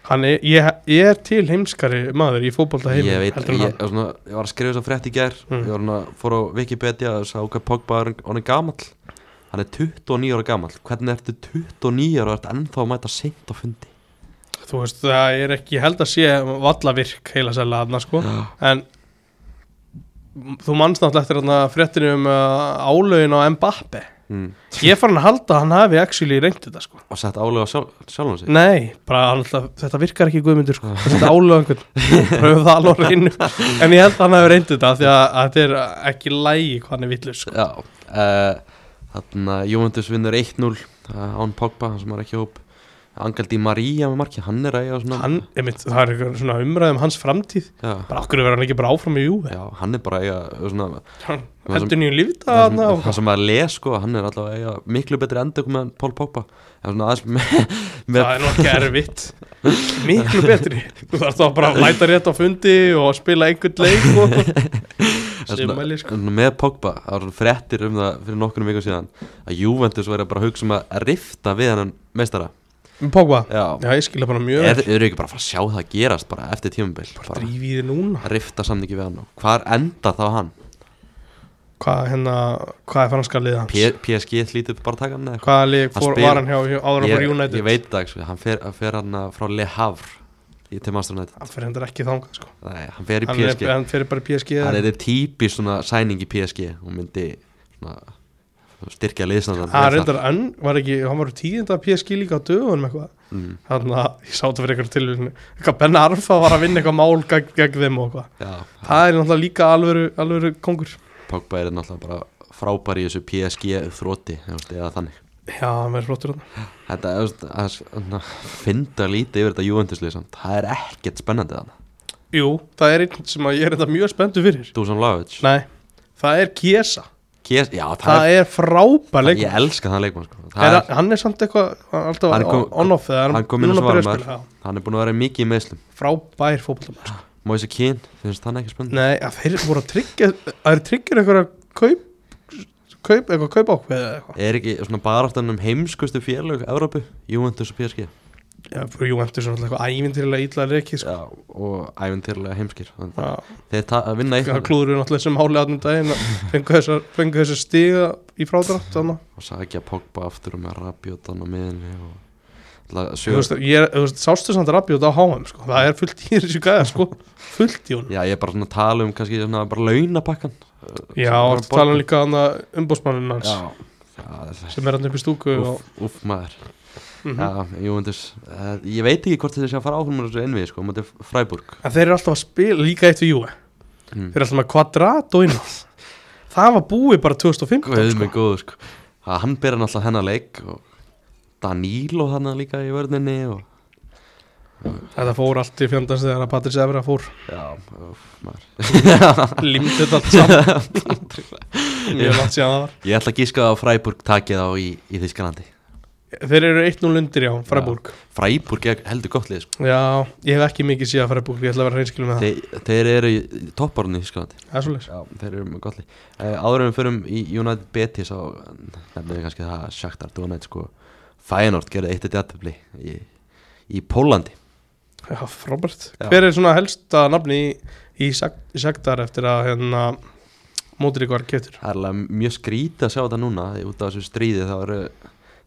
Hann er, ég, ég er til heimskari maður í fótbolta heimi ég veit, heldur en ég, hann. svona, ég var að skrifa þess að frétt í gær Mm. ég var hann að fór á Wikipedia og sá hvað Pogba er orðin gamall hann er 29 ára gamall hvernig ertu 29 ára og ert ennþá að mæta seint á fundi Þú veist, það er ekki, ég held að sé valla virk heila sæla aðna sko En þú manst náttúrulega eftir þarna fréttinu um uh, álögin á Mbappe mm. Ég er farin að halda að hann hafi actually reynd þetta sko og sett álega á sjálf, sjálfum sig Nei, bara hann alltaf, þetta virkar ekki guðmyndur sko, þetta álega einhvern pröfum það alveg að reynu, en ég held að hann hafi reyndið þetta af því að, að þetta er ekki lægi hvað hann er villur sko, Já uh, Þannig að Jóhannes vinnur 1-0 uh, án Pogba, hann sem var ekki hóp Angaldi María með marki, hann er að eiga svona hann, ég mynd, það er eitthvað svona umræðum hans framtíð, já, bara okkur verður hann ekki bara áfram í júfi, já, hann er bara að eiga svona, Það hann sem- heldur nýjum lífið það, sem, þarna og það sem maður les sko, hann er alltaf að eiga miklu betri endur meðan Pól Pogba en svona aðeins með, með það er nú ekki erfitt, miklu betri, þú þarf þá bara að mæta rétt á fundi og spila einhvern leik og en sem mæli sko, svona með Pogba, það var svona frettir um það fyrir nokkurnum vikum síðan að Juventus væri bara að hugsa um að rifta við hann meistara Pogba, Já, já ég skilja bara mjög, er, eru ekki bara að fara að sjá það gerast bara eftir tímumbil bara drífið þið núna. rifta samningi við hann og hvar endar þá hann? Hvað, hérna, hvað er franska liða hans? P- PSG hlítið bara að taka hann eða eitthvað? Hvaða leik Hann fór, spila- var hann hjá hjá- áður að fór ég, United? ég veit það ekki, sko, hann fer, hann fer hann uh, frá Le Havre í til Master United Hann fyrir hendur ekki þangað sko Nei, hann fer í hann, er, PSG hann fyrir bara í PSG hann eða- er típi svona sæning í PSG og myndi svona, styrkja liðsandan Hann Ah, reyndar enn, var ekki, hann var tíðinda PSG líka á dögunum eitthvað mm, Þannig að ég sátt fyrir eitthvað tilvíðinu Eitthvað Ben Arfa var að vinna eitthvað mál gegn, gegn þeim og eitthvað já, Það er náttúrulega líka alvöru, alvöru kongur Pogba er náttúrulega bara frábær í þessu PSG þróti þú veist, eða þannig Já, hann verður flottur þarna þetta þú veist, að svona, finna lítið yfir þetta Juventus-liðsand það er ekkert spennandi þannig Jú, það er einn sem að ég er þetta mjög spenntu fyrir Dusan Lavic Nei, það er Kiesa Kies, já, það, Það er frábær er, leikur ég elska þann leikmann sko. Það er, er- Hann er samt eitthvað, hann er Hann alltaf kom- on-off þegar hann kom inn núna og byrjar að svarar spila, já. hann er búin að vera mikið í meðslum Frábær fótboltamæður Moise Keane, finnst hann ekki spennandi? Nei, að þeir voru að tryggja að þeir tryggjur einhverja kaup, kaup eitthvað kaup ákveð eða eitthvað Er ekki svona baráttan um heimskustu félög Európu, Juventus og PSG Já, fyrir Juventus er náttúrulega eitthvað ævintýrlega illa reikið sko. Já, og æventýrlega heimskir Sko, Þannig Já, að Þeir ta- að vinna það eitthvað klúður náttúrulega sem hálið aðnum daginn að fengu þessar, fengu þessar stiga í frádrátt þarna. og sagði að Pogba aftur og með Rabiótan á miðinni og alltaf Þú sjö veist, ég er, þú veist, sástu samt Rabiot á HM sko. það er fullt í þessu gæða sko. fullt í hún Já, ég er bara svona að tala um kannski svona bara launapakkan Já, og tala um líka hann umbósmanninn hans Já, það er sem er hann upp í stúku og, Úff, úff maður mm Já, Juventus uh, Ég veit ekki hvort þeir sé að fara áfram úr þessu innvið, sko, mútið Freiburg En þeir eru alltaf að spila líka eitt við Juve Mm. Þeir eru alltaf með kvadrat og inn Það var búið bara 2015 Guð sko. mig góður sko að hann byrja náttúrulega hennar leik og Danilo þannig líka í vörninni og Þetta fór allt í fjandans þegar að Patrís Evra fór já, öf, maður Límt þetta allt saman Mjög langt síðan það var ég ætla að gíska að Freiburg taki þá í, í Þískalandi Þeir eru 1-0 undir já, Freiburg Freiburg er heldur gott lið sko Já, ég hef ekki mikið síðan Freiburg Ég ætla að vera hreinskilum með það þeir, þeir eru í í topparunni í Þískalandi Það er svolítið já, þeir eru með gott lið uh, áður en við förum í United Betis og nefnum við kannski það að Shakhtar Donetsk sko Feyenoord gerði eitt eitt jættubli í, í Pólandi Já, frábært Já. Hver er svona helsta nafni í í sektar eftir að hérna, mótrið var keftur Það er alveg mjög skrítið að sjá þetta núna því út af þessu stríði þá eru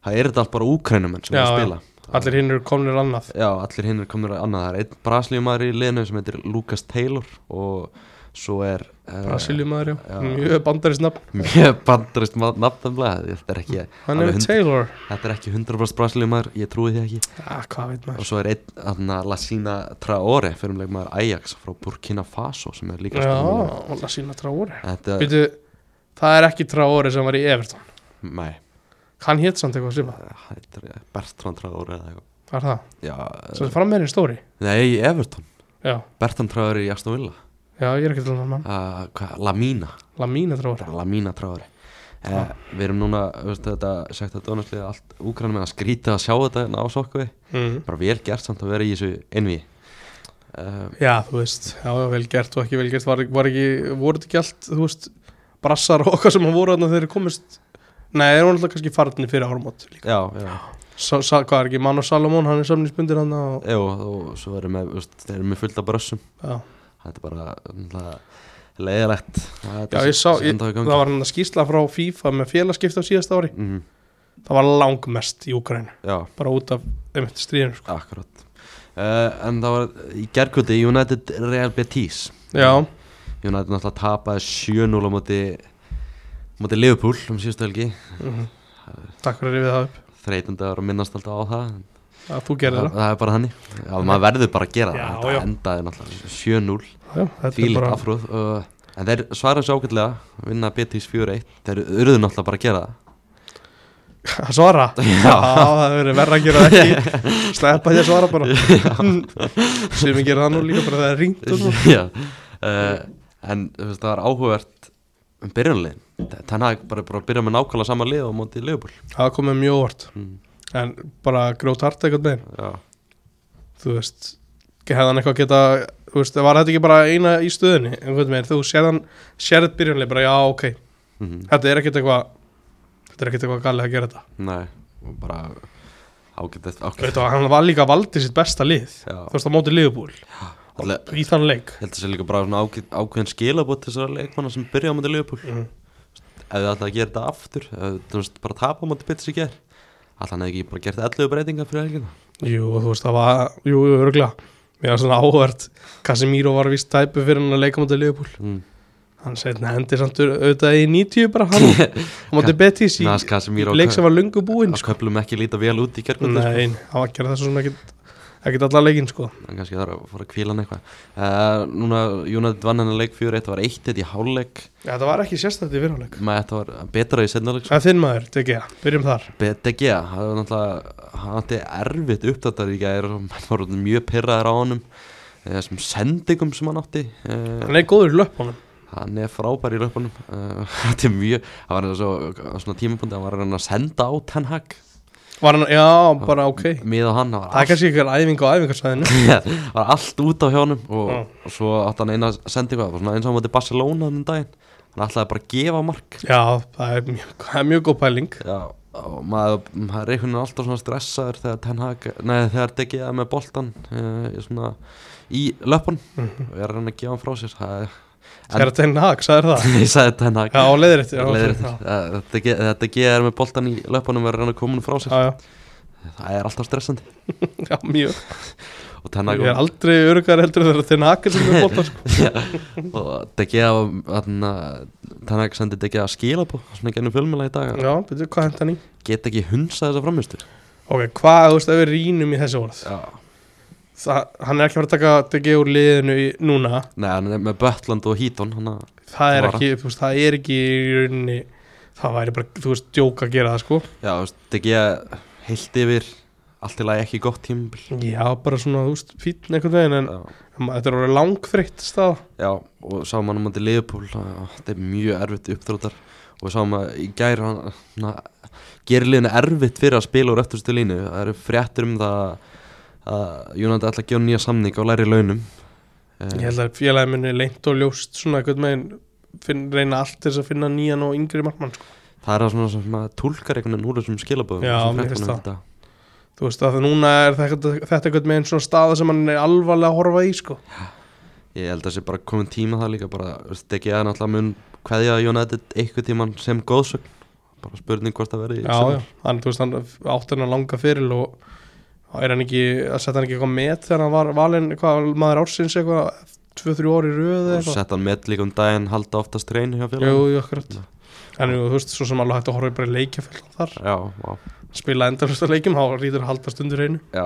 það er þetta allt bara úkrænumenn sem Já, er að já. spila allir hinn eru komnir annað Já, allir hinn er komin að annað það er einn brasilíumæður í liðinu sem heitir Lucas Taylor og svo er eh, Brasiliumæður, já, Já. mjög bandarist nafn mjög bandarist nafnamlega þetta er ekki hann alveg er hund- Taylor þetta er ekki 100% brasilíumæður ég trúi því ekki ah, hvað veit maður og svo er einn þarna, Lassina Traore fyrirumlegmaður Ajax frá Burkina Faso sem er líka að spila núna. já, og Lassina Traore Þetta, Býtu, það er ekki Traore sem var í Everton nei, hann hétt samt eitthvað svipað, þetta er Bertrand Traore eða eitthvað það er það Já, sem frammeirinn stóri nei, í Everton já, Bertrand Traore í Aston Villa já, ég er ekki til um hann mann uh, hvað, Lamína, Lamina Traore Lamína Traore Ah. uh, við erum núna, veistu þetta sagt þetta dónarslega, allt úkrænum að skrýta að sjá þetta hérna á sokkuði, mm. bara vel gert samt að vera í þessu envi uh, Já, þú veist, já, já, vel gert og ekki vel gert var, var ekki, voru þetta ekki allt þú veist, brassar og okkar sem hann voru þannig að þeir komist, nei, þeir voru alltaf kannski farnir fyrir árumót, já, já, sa, sa, hvað er ekki, Manu Salomón hann er samningsbundir hann og, já og svo erum við, veist, þeir eru með fullt af brössum já, þetta er bara náttúrulega, leiðilegt já, ég sá ég, það var hann að skýrsla frá FIFA með félagskipta á síðasta ári, mm, það var langmest í Úkræn, já, bara út af einmitt stríðinu, sko, akkurat uh, en það var í gerkvöldi United Real Betis já United náttúrulega tapaði 7-0 á móti móti Liverpool um síðustu helgi takk fyrir að rifið það upp, þreytandi að vera að minnast alltaf á það en að þú gerir það, það, það er bara hannig já, maður verður bara að gera Já, það þetta já. endaði náttúrulega 7-0 já, þetta er fílið bara, afrúð uh, en þeir svara þessu ágætlega vinna Betis 4-1 þeir urðu náttúrulega bara að gera það að svara, já, það hefur verið verra að gera það ekki, sleppa því að svara bara, sem ég gera það nú líka bara þegar það er ringt og svo, já, uh, en þú veist, það var áhugavert um byrjunlegin þannig að bara, bara byrja með nákvæmlega sama lið á móti Liverpool það komið mjög óvart Mm. en bara grót hart eitthvað með já, þú veist, hefði hann eitthvað geta þú veist, var þetta ekki bara eina í stöðunni einhvern veginn, þú séð hann, séð þetta byrjunlega bara já, ok, mm þetta er ekkert eitthvað þetta er ekkert eitthvað galið að gera þetta nei og bara ágætt Þú ágætt veit, og hann var líka valdið sitt besta lið Já. þú veist, á móti liðbúl Alla- í þann leik Ég held að það sé líka bara svona ákveð, ákveðin skilabót þessara leikmanna sem byrja á móti Liverpool Mhm. ef þið ætlaði að gera þetta aftur ef þú veist bara tapa á móti Pits í ger alltaf hann hefði ekki bara gert 11 breytingar fyrir helgina jú, og þú veist, það var, jú, örgla mér var svona áhvert, Casemiro var vist tæpu fyrir hann að leika á móti liðbúl mm. hann segði, hendi samt auðvitað í 90 bara hann, á móti Betis í Nas Casemiro leik sem var lungu búinn að köplum ekki líta vel út í gerkvöldu sko. Nei, það var að gera þessu svona ekkit ekkit allar leikinn sko hann kannski þarf að fara að kvíla hann eitthvað uh, núna United vann hennar leik 4-1 það var 1-1 í hálfleik Já, það var ekki sérstætti fyrirháleik maður þetta var betra í setna leik sko. Það er þinn maður, DG, byrjum þar BDG, það var náttúrulega hann átti erfitt uppdættar í gæri og menn var mjög pyrraðir á honum eh, þessum sendingum sem hann átti eh, Hann er góður í löpunum hann er frábær í löpunum eh, þetta er mjög, það var eins og á svona tímapunkti, hann var að reyna að senda á Ten Hag Var hann, já, bara ok mið á hann, það Það er var allt, kannski eitthvað æfing á æfingarsæðinu var allt út á hjónum og Já. svo átti hann eina sendingu það var svona eins og hann átti Barcelona þannig daginn hann ætlaði bara að gefa mark Já, það er mjög, það er mjög góð pæling Já, og maður, maður er einhvern veginn alltaf svona stressaður þegar Ten Hag, nei þegar DG er með boltan uh, svona í löpun Mhm. og ég er að reyna að gefa hann frá sér það er, Það er að tegna hag, sagður það ég sagði hérna. Ten Hag Já, á leiðrétt já, leiðrétt. já. Eh, DG þegar DG er með boltan í löpunum og er að reyna að koma hann frá sér Já, já, það er alltaf stressandi já, mjög og Ten Hag Ég er aldrei örugar heldur en það er að tegna hag sem er bóta sko Já, og DG var- þarna, Ten Hag sendi DG að skila på svona gennum fjölmjöla í dag Já, betur, hvað hentan í? get ekki hunsa þessa framistu Ok, hvað, þú veist, ef við rínum í þessi orð Já það, Hann er ekki að fara að taka DG úr liðinu í, núna Nei, hann er með Bötland og Hítón hann að það er Vara. ekki, þú veist, það er ekki í rauninni, það væri bara, þú veist, djók að gera það, sko. Já, þú veist, ekki að heilt yfir allt í lagi ekki gott tímabil Já, bara svona, þú veist, fín einhvern veginn, en Já, þetta er orðið langfritt stað. já og sá mann á móti Liverpool já, þetta er mjög erfitt uppdráttar og sá mann í gær hann na, gerir liðinu erfitt fyrir að spila úr öftustu línu það eru fréttir um það að Jónandi ætla að gefa nýja samning og læri launum Eh, Ég held að félagi minni leint og ljóst svona einhvern veginn, finn, reyna allt til þess að finna nýjan og yngri markmann, sko. Það er það svona sem maður túlkar einhvern veginn úr þessum skilaböðum Já, þessum fréttunum mér finnst það. þetta. Þú veist, að núna er þetta, þetta einhvern veginn svona staða sem hann er alvarlega að horfa í, sko. ég held að sé bara komin tíma það líka bara, stekja það náttúrulega mun hvaðja United eitthvað tíman sem góðsögn bara spurning hvort það verði í Já, já, sumar. hann, þú veist, hann átti hennar langa fyrir og og er hann ekki, að setja hann ekki eitthvað met þegar hann var valinn, hvað, maður ársins eitthvað, 2-3 ári röð og eitthvað sett hann með líka um daginn halda oftast reyni hjá Jú, félaginu jú, akkurat En jú, þú veist, svo sem alveg hægt að horfa bara í leikjafélag þar já, já, spila endalust á leikjum, þá rítur að halda stundur einu já,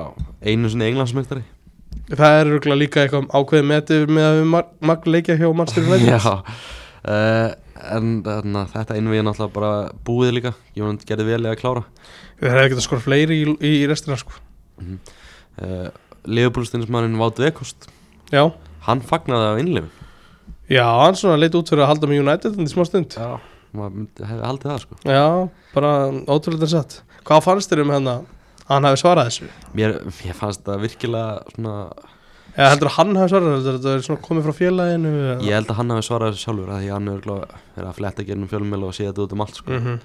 einu sinni englandsmeistari Það er örugglega líka eitthvað ákveðið metið með að við mag, mag leikja hjá mannstur já uh, en þarna, þetta innvíði náttúrulega bara búið líka, Jónand gerði vel í að klára Við hefði ekki að skora fleiri í, í restina sko uh, Leifbúlstinsmannin Vátu Ekost Já, hann fagnaði af innlifin já, hann svona leit út fyrir að halda með United þannig smá stund já, maður myndi- hefði haldið það sko Já, bara ótrúlega satt Hvað fannst þér um hérna að hann hafi svarað þessu? mér, mér fannst það virkilega svona, Eða heldur að hann hafi svarað heldur að þetta er svona komið frá félaginu eða- ég held að hann hafi svarað þessu sjálfur af því að hann er, er að fletta gernum fjölmjöl og sé þetta út um allt sko. Mhm.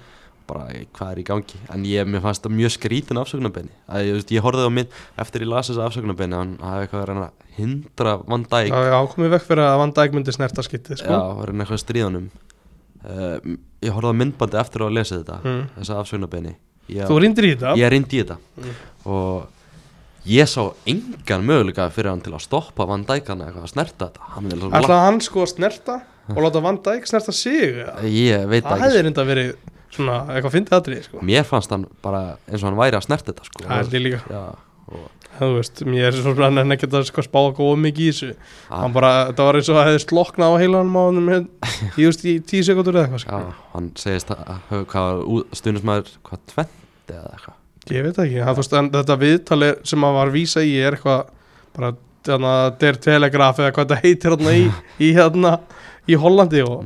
bara hvað er í gangi en ég, mér fannst það mjög skrítin afsökunarbeini að ég, þú veist, ég horfði á mynd eftir ég las þessa afsökunarbeini hann hafi eitthvað að reyna að hindra vandæk Já, já, komið vekk fyrir að Van Dijk myndi snerta skyttið sko já, reyna eitthvað að stríðanum uh, ég horfði á myndbandi eftir að lesa þetta Mm. þessa afsökunarbeini ég, Þú Mm. rindir í þetta ég reyndi í þetta og ég sá engan möguleika fyrir hann til að stoppa vandækana eitthvað að snerta þetta hann er svo langt- Ætlaði hann sko að snerta og láta Van Dijk snerta sig eða? Ég veit Það það ekki hefði reynda verið svona eitthvað fyndið aðrið sko sko. Mér fannst hann bara eins og hann væri að snerta þetta sko. Það er líka Já, og þú veist, mér er svona hann ekkert að sko, spá eitthvað of mikið í þessu Ah. hann bara, þetta var eins og að hefði sloknað á heilanum á honum hér, ég veist, í tíu sekundur eða eitthvað já, sko. hann segist að hafa hvað stundismæður hvað tvent eða eitthvað ég veit ekki, það, þú veist, en þetta viðtali sem að var að vísa í er eitthvað bara, þannig að þetta er telegraf eða hvað þetta heitir hérna í, í hérna í Hollandi og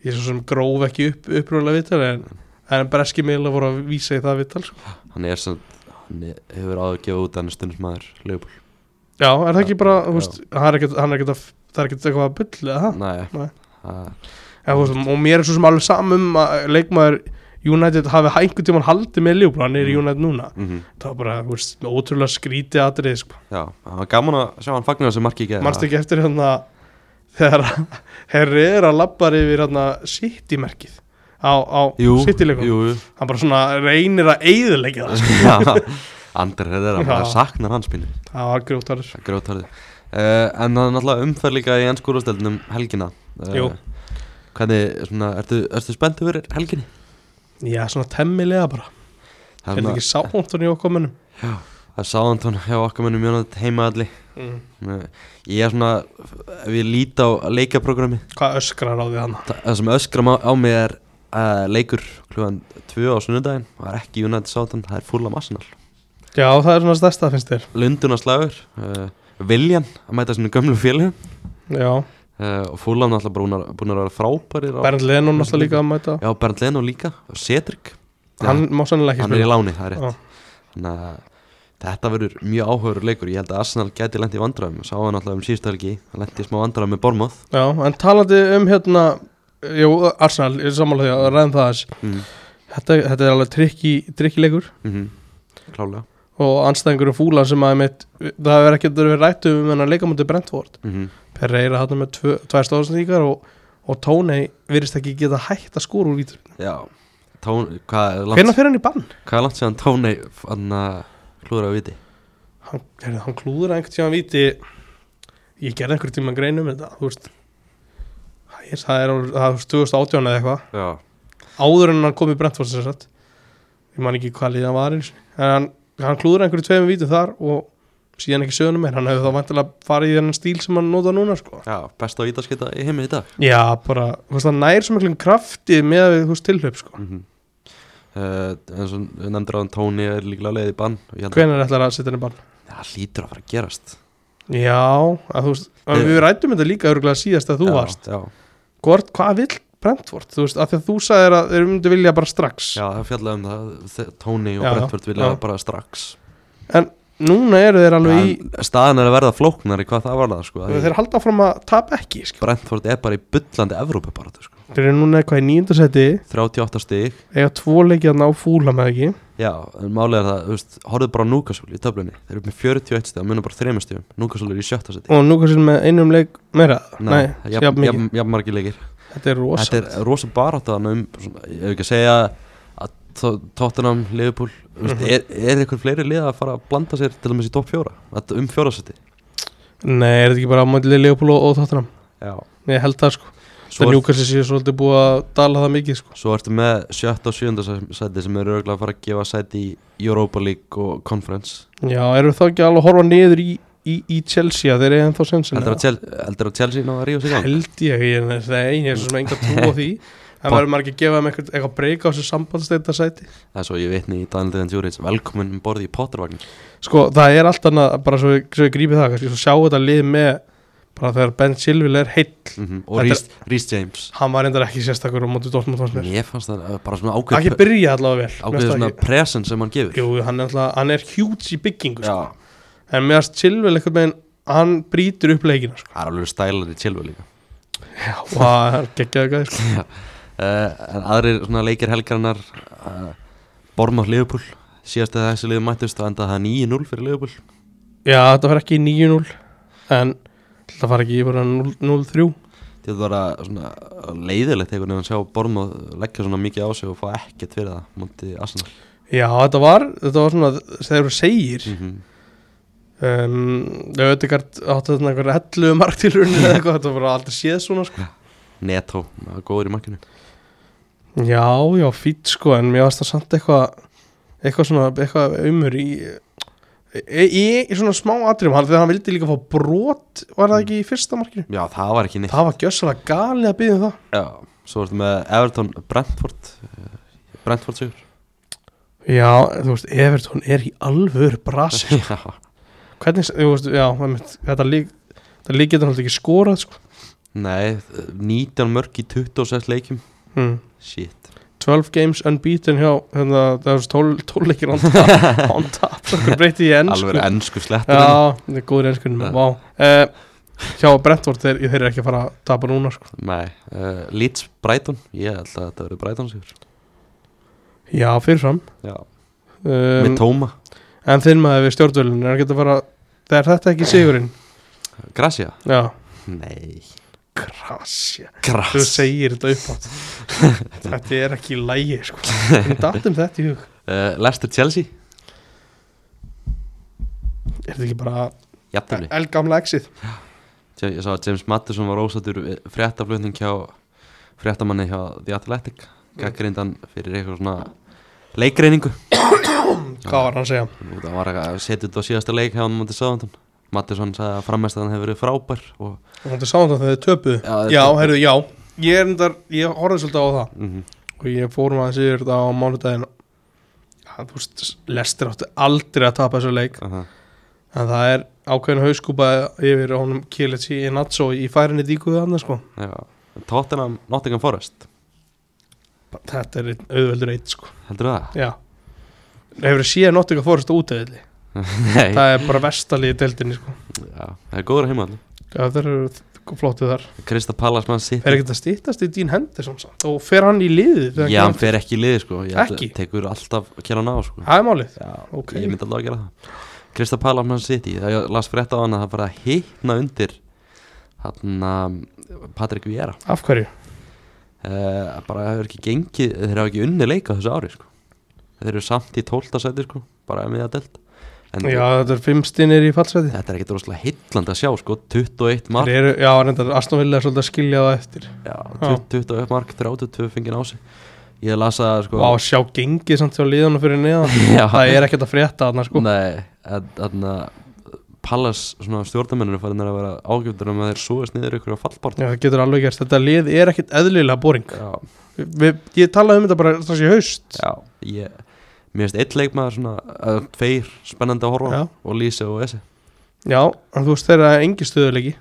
ég er svo sem gróf ekki upp, upprúlega viðtali en, en breski miðla voru að vísa í það viðtal sko. Hann er sem hann er- hefur áður gefið út að hann er stundismæður Leopold já, er það ekki bara, Já. þú veist, hann er ekkert hann er ekkert að, það er ekkert eitthvað að bulla, það Nei, Ah, Nei. það- Já, þú veist, og mér er svo sem alveg samum að leikmaður United hafi einhvern tímann haldið með Liverpool, hann er í United núna mhm. það var bara, þú veist, ótrúlega skrítið atrið sko. Já, það var gaman að sjá hann fagnar þessi marki ekki mannst ekki eftir hérna þegar herri er að labbar yfir hérna City-merkið á, á Jú, City-leikum, jú, jú. hann bara svona reynir að eyðilegja það, sko. Já, Andri Hreðera, Já. maður saknar hans pínu það var grjótt atrið Það er grjótarðið uh, En það er náttúrulega umferð líka í ennskúrústeldinum helgina uh, Jú. Hvernig, svona, ertu, ertu spenntu fyrir helginni? já, svona temmilega bara, Það er þetta svona- ekki sánt hann í okkominum Það er sáðantón hjá okkar mennum Jónat heimaðalli mm. Eh, Ég er svona, ef ég lít á leikaprogrammi hvað öskrar á því hann Það það sem öskram á, á mig er uh, leikur klugan 2 á sunnudaginn Það er ekki Jónat sáðantón, það er fúla massinal já, það er svona stærsta finnst þér Lundunarslagur, uh, Viljan að mæta sinu gömlu félagum já, uh, og fúlam náttúrulega búin að vera frábærir á- Bernd Lennon alltaf líka að mæta Já, Bernd Lenó líka, og Cedric hann má sennilega ekki hann er í láni, það er Já. rétt þannig að þetta verður mjög áhugur leikur ég held að Arsenal gæti lent í vandræðum sá hann alltaf um síðustu helgi, hann lent í smá vandræðum með Bormoth Já, en talandi um hérna Jú, Arsenal, ég er samanlega að ræðum það aðeins mm. þetta, þetta er alveg trikki, trikki leikur mm klálega og anstæðingur um fúla sem að mitt, það hefur ekkert verið rætt um en að leika mútið Brentford mm Pereira hann með tvö, tvær stóðsendíkar og, og Tónei virðist ekki geta hægt að skóra úr vítur já, tón, hvað, er Hvernig langt, fyrir hann í bann? hvað er langt séðan Tóni hann klúður að viti Hann, heyrðu, hann klúður einhvern tíma víti ég gerði einhvern tíma grein um þetta þú veist Það er- það er alveg- það er 2018 eða eitthvað já, áður en hann kom í Brentford sem sagt ég man ekki hvað liðan var eins en hann, hann klúður einhverju tveim vítum þar og síðan ekki söguna meir hann hefur þá vantilega farið í þennan stíl sem hann nota núna sko. já best á ítaskita í heimi í dag já bara, þú veist það nær svo miklum krafti með að við þú veist tilhaup sko. mm -hmm. Eh, eins og við nefndir á hann Tóni er líklega leið í bann og ég held að- hvenær ætlar að setja henni bann það hlýtur að fara að gerast já, að þú veist að við rættum þetta líka örgulega síðast að þú já, varst já, Hvort, hvað vill Brentford, þú veist, af því að þú sagðir að þeir myndu vilja bara strax já, það fjallaði um það Tóni og Já, já. Brentford vilja Já. bara strax Núna eru þeir alveg í En staðan er að verða flóknari hvað það var það sko Þeir þeir halda áfram að tapa ekki sko. Brentford er bara í byllandi Evrópa bara sko. Þeir eru núna eitthvað í nýjundarsæti 38 stig Ega tvo leikið að ná fúla með ekki Já, en málið er það, þú veist, horfðu bara á Núkasúl í töflunni Þeir eru upp með 41 stig, það munar bara 3 stigum Núkasúl er í sjötta seti Og nú kannski með einum leik meira Nei, það er Nei jafn, jafn mikið jafn, jafn margir leikir Þetta er rosa Þetta er rosa baráttan um, svona, ég hef ekki að segja að Tó- Tottenham, Liverpool mm Mhm. veist, er, er einhver fleiri liða að fara að blanda sér til dæmis í topp fjóra, Þetta um fjórasetti Nei, er þetta ekki bara ámætilega Leopold og, og Tottenham Já Ég held það sko svo, Það er, njúkast sér svolítið búið að dala það mikið sko svo ertu með sjötta og sjönda seti sem eru örgulega að fara að gefa seti í Europa League og Conference Já, eru þá ekki alveg að horfa niður í, í, í Chelsea að Þeir eru ennþá sensin Heldur að Chel- heldur að Chelsea ná að ríða sig í gang? Held ég, ég, nei, nei, ég er svo sem enga trú á því En Pa- verður maður ekki að gefa þeim eitthvað, eitthvað breyka á þessu sambandstæta sæti Það er svo ég vitni í Daniel Dejan Djúriðs Velkomin um borði í Pottervagn Sko, það er allt annað, bara svo, svo ég grípi það, kannski, svo sjá þetta lið með, bara þegar Ben Silville er heill, mm Þetta Og er- Rhys- Rhys James hann var reyndar ekki sérstakur á móti Dortmund fannst mér. Mér fannst það uh, bara svona Ekki ákveð byrja allavega vel. Ákveð Mér svona fannst það presence sem hann gefur Jú, hann er, alltaf, hann er huge í byggingu, sko. Já, En mér finnst Silville eitthvað meginn, hann brýtur upp leikina, sko. það er alveg stælar í Chilwell líka Já, það er geggjaðu gæði, sko. uh, En aðrir svona leikir helgarinnar uh, Bormátt Liverpool Síðast að þessi liðu mættist og endaði það 9-0 fyrir Liverpool Já, þetta var ekki í 9-0, en þetta var ekki í bara 0-3. Þetta var að svona leiðilegt einhvern veginn að sjá Bormátt leggja svona mikið á sig og fá ekkert fyrir það mútið Arsenal Já, þetta var, þetta var svona, þegar þú segir, mm um, Ödegard átti þarna einhverja hellu marktilrunni eða eitthvað, þetta var bara aldrei séð svona sko. Neto, maður góður í makkinu Já, já, fýtt sko, en mér varst það samt eitthvað eitthvað svona, eitthvað umur í í, í, í svona smá atriðum, hann þegar hann vildi líka fá brot var það ekki í fyrsta markinu Já, það var ekki neitt það var gjössalega galið að byggja um það Já, svo ertu með Everton Brentford eh, Brentford sigur Já, þú veist, Everton er í alvöru brasi, Já, hvernig, þú veist, já einmitt, þetta lík, þetta lík getur hann ekki skorað sko. nei, 19 mörg í 26 leikjum hmm. Shit 12 games unbeaten hjá hérna, það er svo 12 leikir on tap on tap, það breyti í ennsku Alveg ennsku slettur já, það er góður ennskunum Ja. vá uh, hjá Brentford, þeir, þeir eru ekki að fara að tapa núna sko. Nei, uh, Leeds Brighton Ég held að þetta verður Brighton sigur já, fyrirfram Já, með um, Tóma en þinn maður við stjórnvölin er ekki að fara það er þetta ekki sigurinn Gracia já, Nei, krasja þú Gracia segir þetta upp átt þetta er ekki í lægi sko. en datum þetta í hug uh, Leicester Chelsea er þetta ekki bara Eh, Jafnir elgamla exið Ég sá að James Matteson var ósattur fréttaflutning hjá fréttamanni hjá The Athletic Mm. Gaggrindan fyrir eitthvað svona leikreiningu hvað var hann að segja Nú, Það var að setja þetta á síðasta leik hjá hann mútið Sáðantón Mattisson sagði að framestæðan hefur verið frábær og Og Þetta sáðan það þegar þau töpuðu Já, þeir Já, töpuðu. herru, já Ég er endar, ég horfði svolítið á það mm -hmm. Og ég fórum að þessi þetta á mánudaginn Já, þú veist, lestir áttu aldrei að tapa þessu leik En það er ákveðin hauskúpa yfir honum Kielitsi í Natsó í færinni díkuðu annars sko Tottenham Nottingham Forest Bara Þetta er einn- auðveldur eitt sko heldur það? Já Hefur þið síðan nottinga fórist út eða þið Nei, það, Það er bara vestalið í deildinni sko já, það er góður heima allir Já, það eru flottið þar Krista Pallas mann sitt Er ekkert að stýttast í Dín Henderson samt? Og fer hann í liðið þegar Já, hann hann kemur? fer ekki í liði sko Ég held að Ekki? Tekur alltaf að kjæra ná sko Það er málið Já, ok. Ég myndi alltaf að gera það Krista Pallas mann sitt í Það ég las frétt á hann að það bara hitna undir hann Patrik Viera Af hverju? uh, bara hefur ekki gengið þeir hafa ekki unni leika þessu ári sko. þeir eru samt í 12. seti sko, bara með að delt en Já, þetta er fimm stinnir í fallsveti þetta er ekki droslega heillandi að sjá sko, 21 mark Þeir eru, já, reyndar, Aston Villa er svolítið að skilja það eftir já, 20, 21 mark, 32 fengið á sig ég lasa sko Vá, sjá gengið samt hjá liðunum fyrir neðan Já. Það er ekkert að frétta þarna, sko nei, en- þarna Pallas, svona stjórnamennir farin að vera ágjöfnir um að þeir súast niður ykkur á fallbort Já, það getur alveg gerst, þetta lið er ekkert eðlilega boring já, Vi, Ég talaði um þetta bara strax í haust já ég, mér finnst eitt leikmaður svona uh, tveir spennandi að horfa á, Já. og Lise og Esi Já, en þú veist þeirra engi stöðuleiki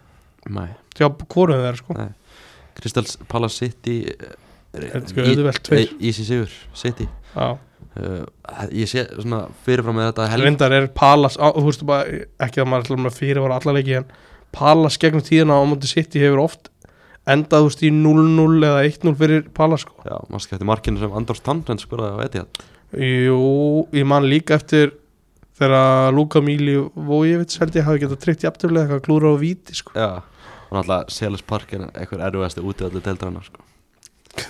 nei Já, hvorum þeirra, sko Nei. Crystal Palace City Þetta er sko auðvelt tveir. Easy Sigur City Já, uh, ég sé svona fyrirfram með þetta helg Rindar er Palace, á, þú veist bara, ekki að maður ætlar með fyrir var allalegi en Palace gegnum tíðina á móti City hefur oft endað þú veist í 0-0 eða 1-0 fyrir Palace sko. já, maður skætti markinu sem Andors Tandrend skoraði á Etihad Jú, ég man líka eftir þegar Luka Míli Vojevits held ég hafi getað tryggt jafntöflega eitthvað klúra og víti sko. já, og náttúrulega Selis Park er einhver erfiðasti útivallu deildrana sko.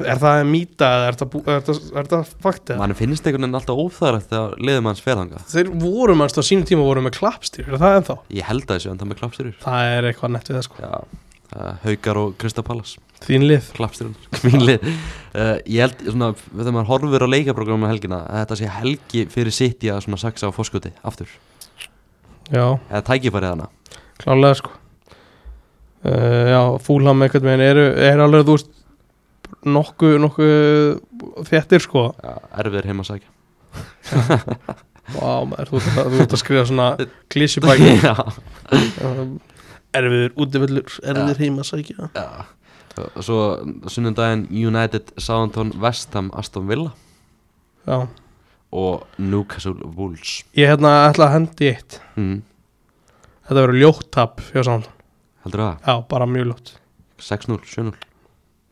Er það mýta eða er það, bú- er það, er það fakt eða? mann finnst einhvern veginn alltaf óþægilegt þegar liðum hans ferðanga Þeir voru mannst á sínum tíma voru með klappstýr, er það ennþá? ég held að þessu en það með klapstyrur Það er eitthvað nett við það sko. já, uh, Haukar og Kristapalas Þín lið. klapstyrun Mínli, uh, ég held svona, þegar maður horfir á leikaprogramma helgina að þetta sé helgi fyrir City að svona saxa á fórskuti aftur, Já. eða tækifærið hana Klálega sko uh, Já, fúlham einhvern veginn eru, eru alveg þú veist nokku, nokku þettir sko ja, erfiðir heima að sækja Vá, maður, þú, ert að- þú ert að skrifa svona klísjubæk Já, Um, Erfiður útivillur, erfiður heima að sækja já. Og Svo sunnundaginn United, Southampton, Westham, Aston Villa Já, og Newcastle Wolves ég hérna ætla að hendi í eitt mm. Þetta verður ljótt tap hjá saman heldur það, Já, bara mjög ljótt 6-0, 7-0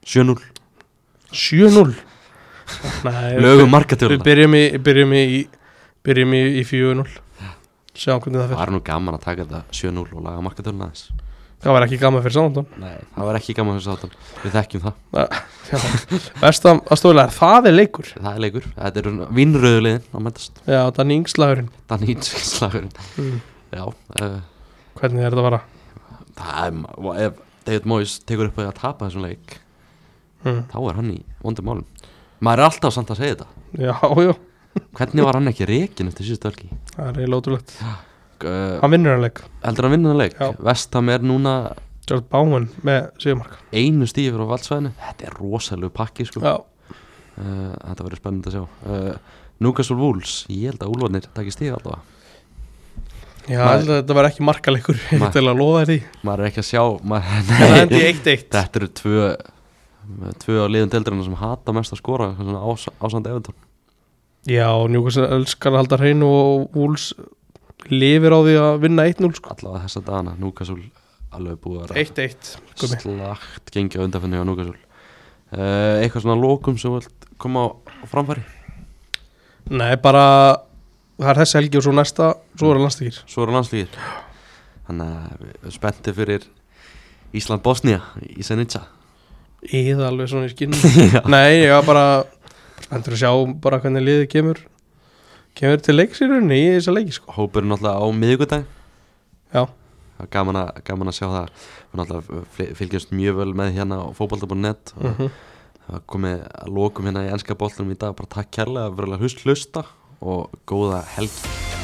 7-0, 7-0 Nei, lögum hérna. Við markatjóla byrjum í, byrjum í, byrjum í, í 4-0 Sjáum hvernig það Það fyrir var nú gaman að taka þetta 7-0 og laga markatjóla aðeins Það var ekki gaman fyrir saman Nei, það var ekki gaman fyrir Southampton, við þekkjum það Vestam að stóðlega, það er leikur Það er leikur, þetta er vinnröðulegin að mætast Já, Danny Ingslagurinn Danny Ítskilslagurinn Mm. Já, uh, Hvernig er þetta að vara? það er, og ef David Moyes tekur upp á því að tapa þessum leik Mm. þá er hann í vondum málum Maður er alltaf samt að segja þetta Já, já, Hvernig var hann ekki reikin eftir síðustu örki? það er eiginlega ótrúlegt Uh, Hann vinnur hann leik, heldur hann vinna hann leik? Já. Vestam er núna George Báman með Sigurmark einu stífur á valdsvæðinu Þetta er rosalegu pakki sko uh, Já, Þetta verður spennandi að sjá uh, Newcastle Wolves, ég held að Úlfarnir takir stíf allavega ég Maður- held að þetta var ekki markaleikur Ég Maður- get til að lofa þér því Maður er ekki að sjá maður, Það hendi ég eitt eitt Þetta eru tvö tvö á liðum deildarinnar sem hata mest að skora svona ás, ásand Evertón Já, Newcastle elskar að halda hreinu og Wolves lifir á því að vinna 1-0 sko allavega þessa dagana Núkasúl alveg búið að 1-1 Gumi. slagt gengi á undanfinni á Núkasúl uh, eitthvað svona lókum sem þú vilt koma á framfæri Nei, bara það er þessi helgi og svo næsta Svo eru landstakir svo eru landslíkir þannig að við erum spenntið fyrir Ísland-Bosnia í Senitsa Eða alveg svona í skinn Nei, ég var bara Spenntur að sjá bara hvernig liðið kemur Kemur til leiksýrunni í þessa leiki sko hópurinn náttúrulega á miðvikudag Já Það er gaman, að- gaman að sjá það og náttúrulega fly- fylgjumst mjög vel með hérna á fótbolta.net og Mhm. það var komið að lokum hérna í enska boltanum í dag bara takk kærlega fyrir að hlust- hlusta og góða helgi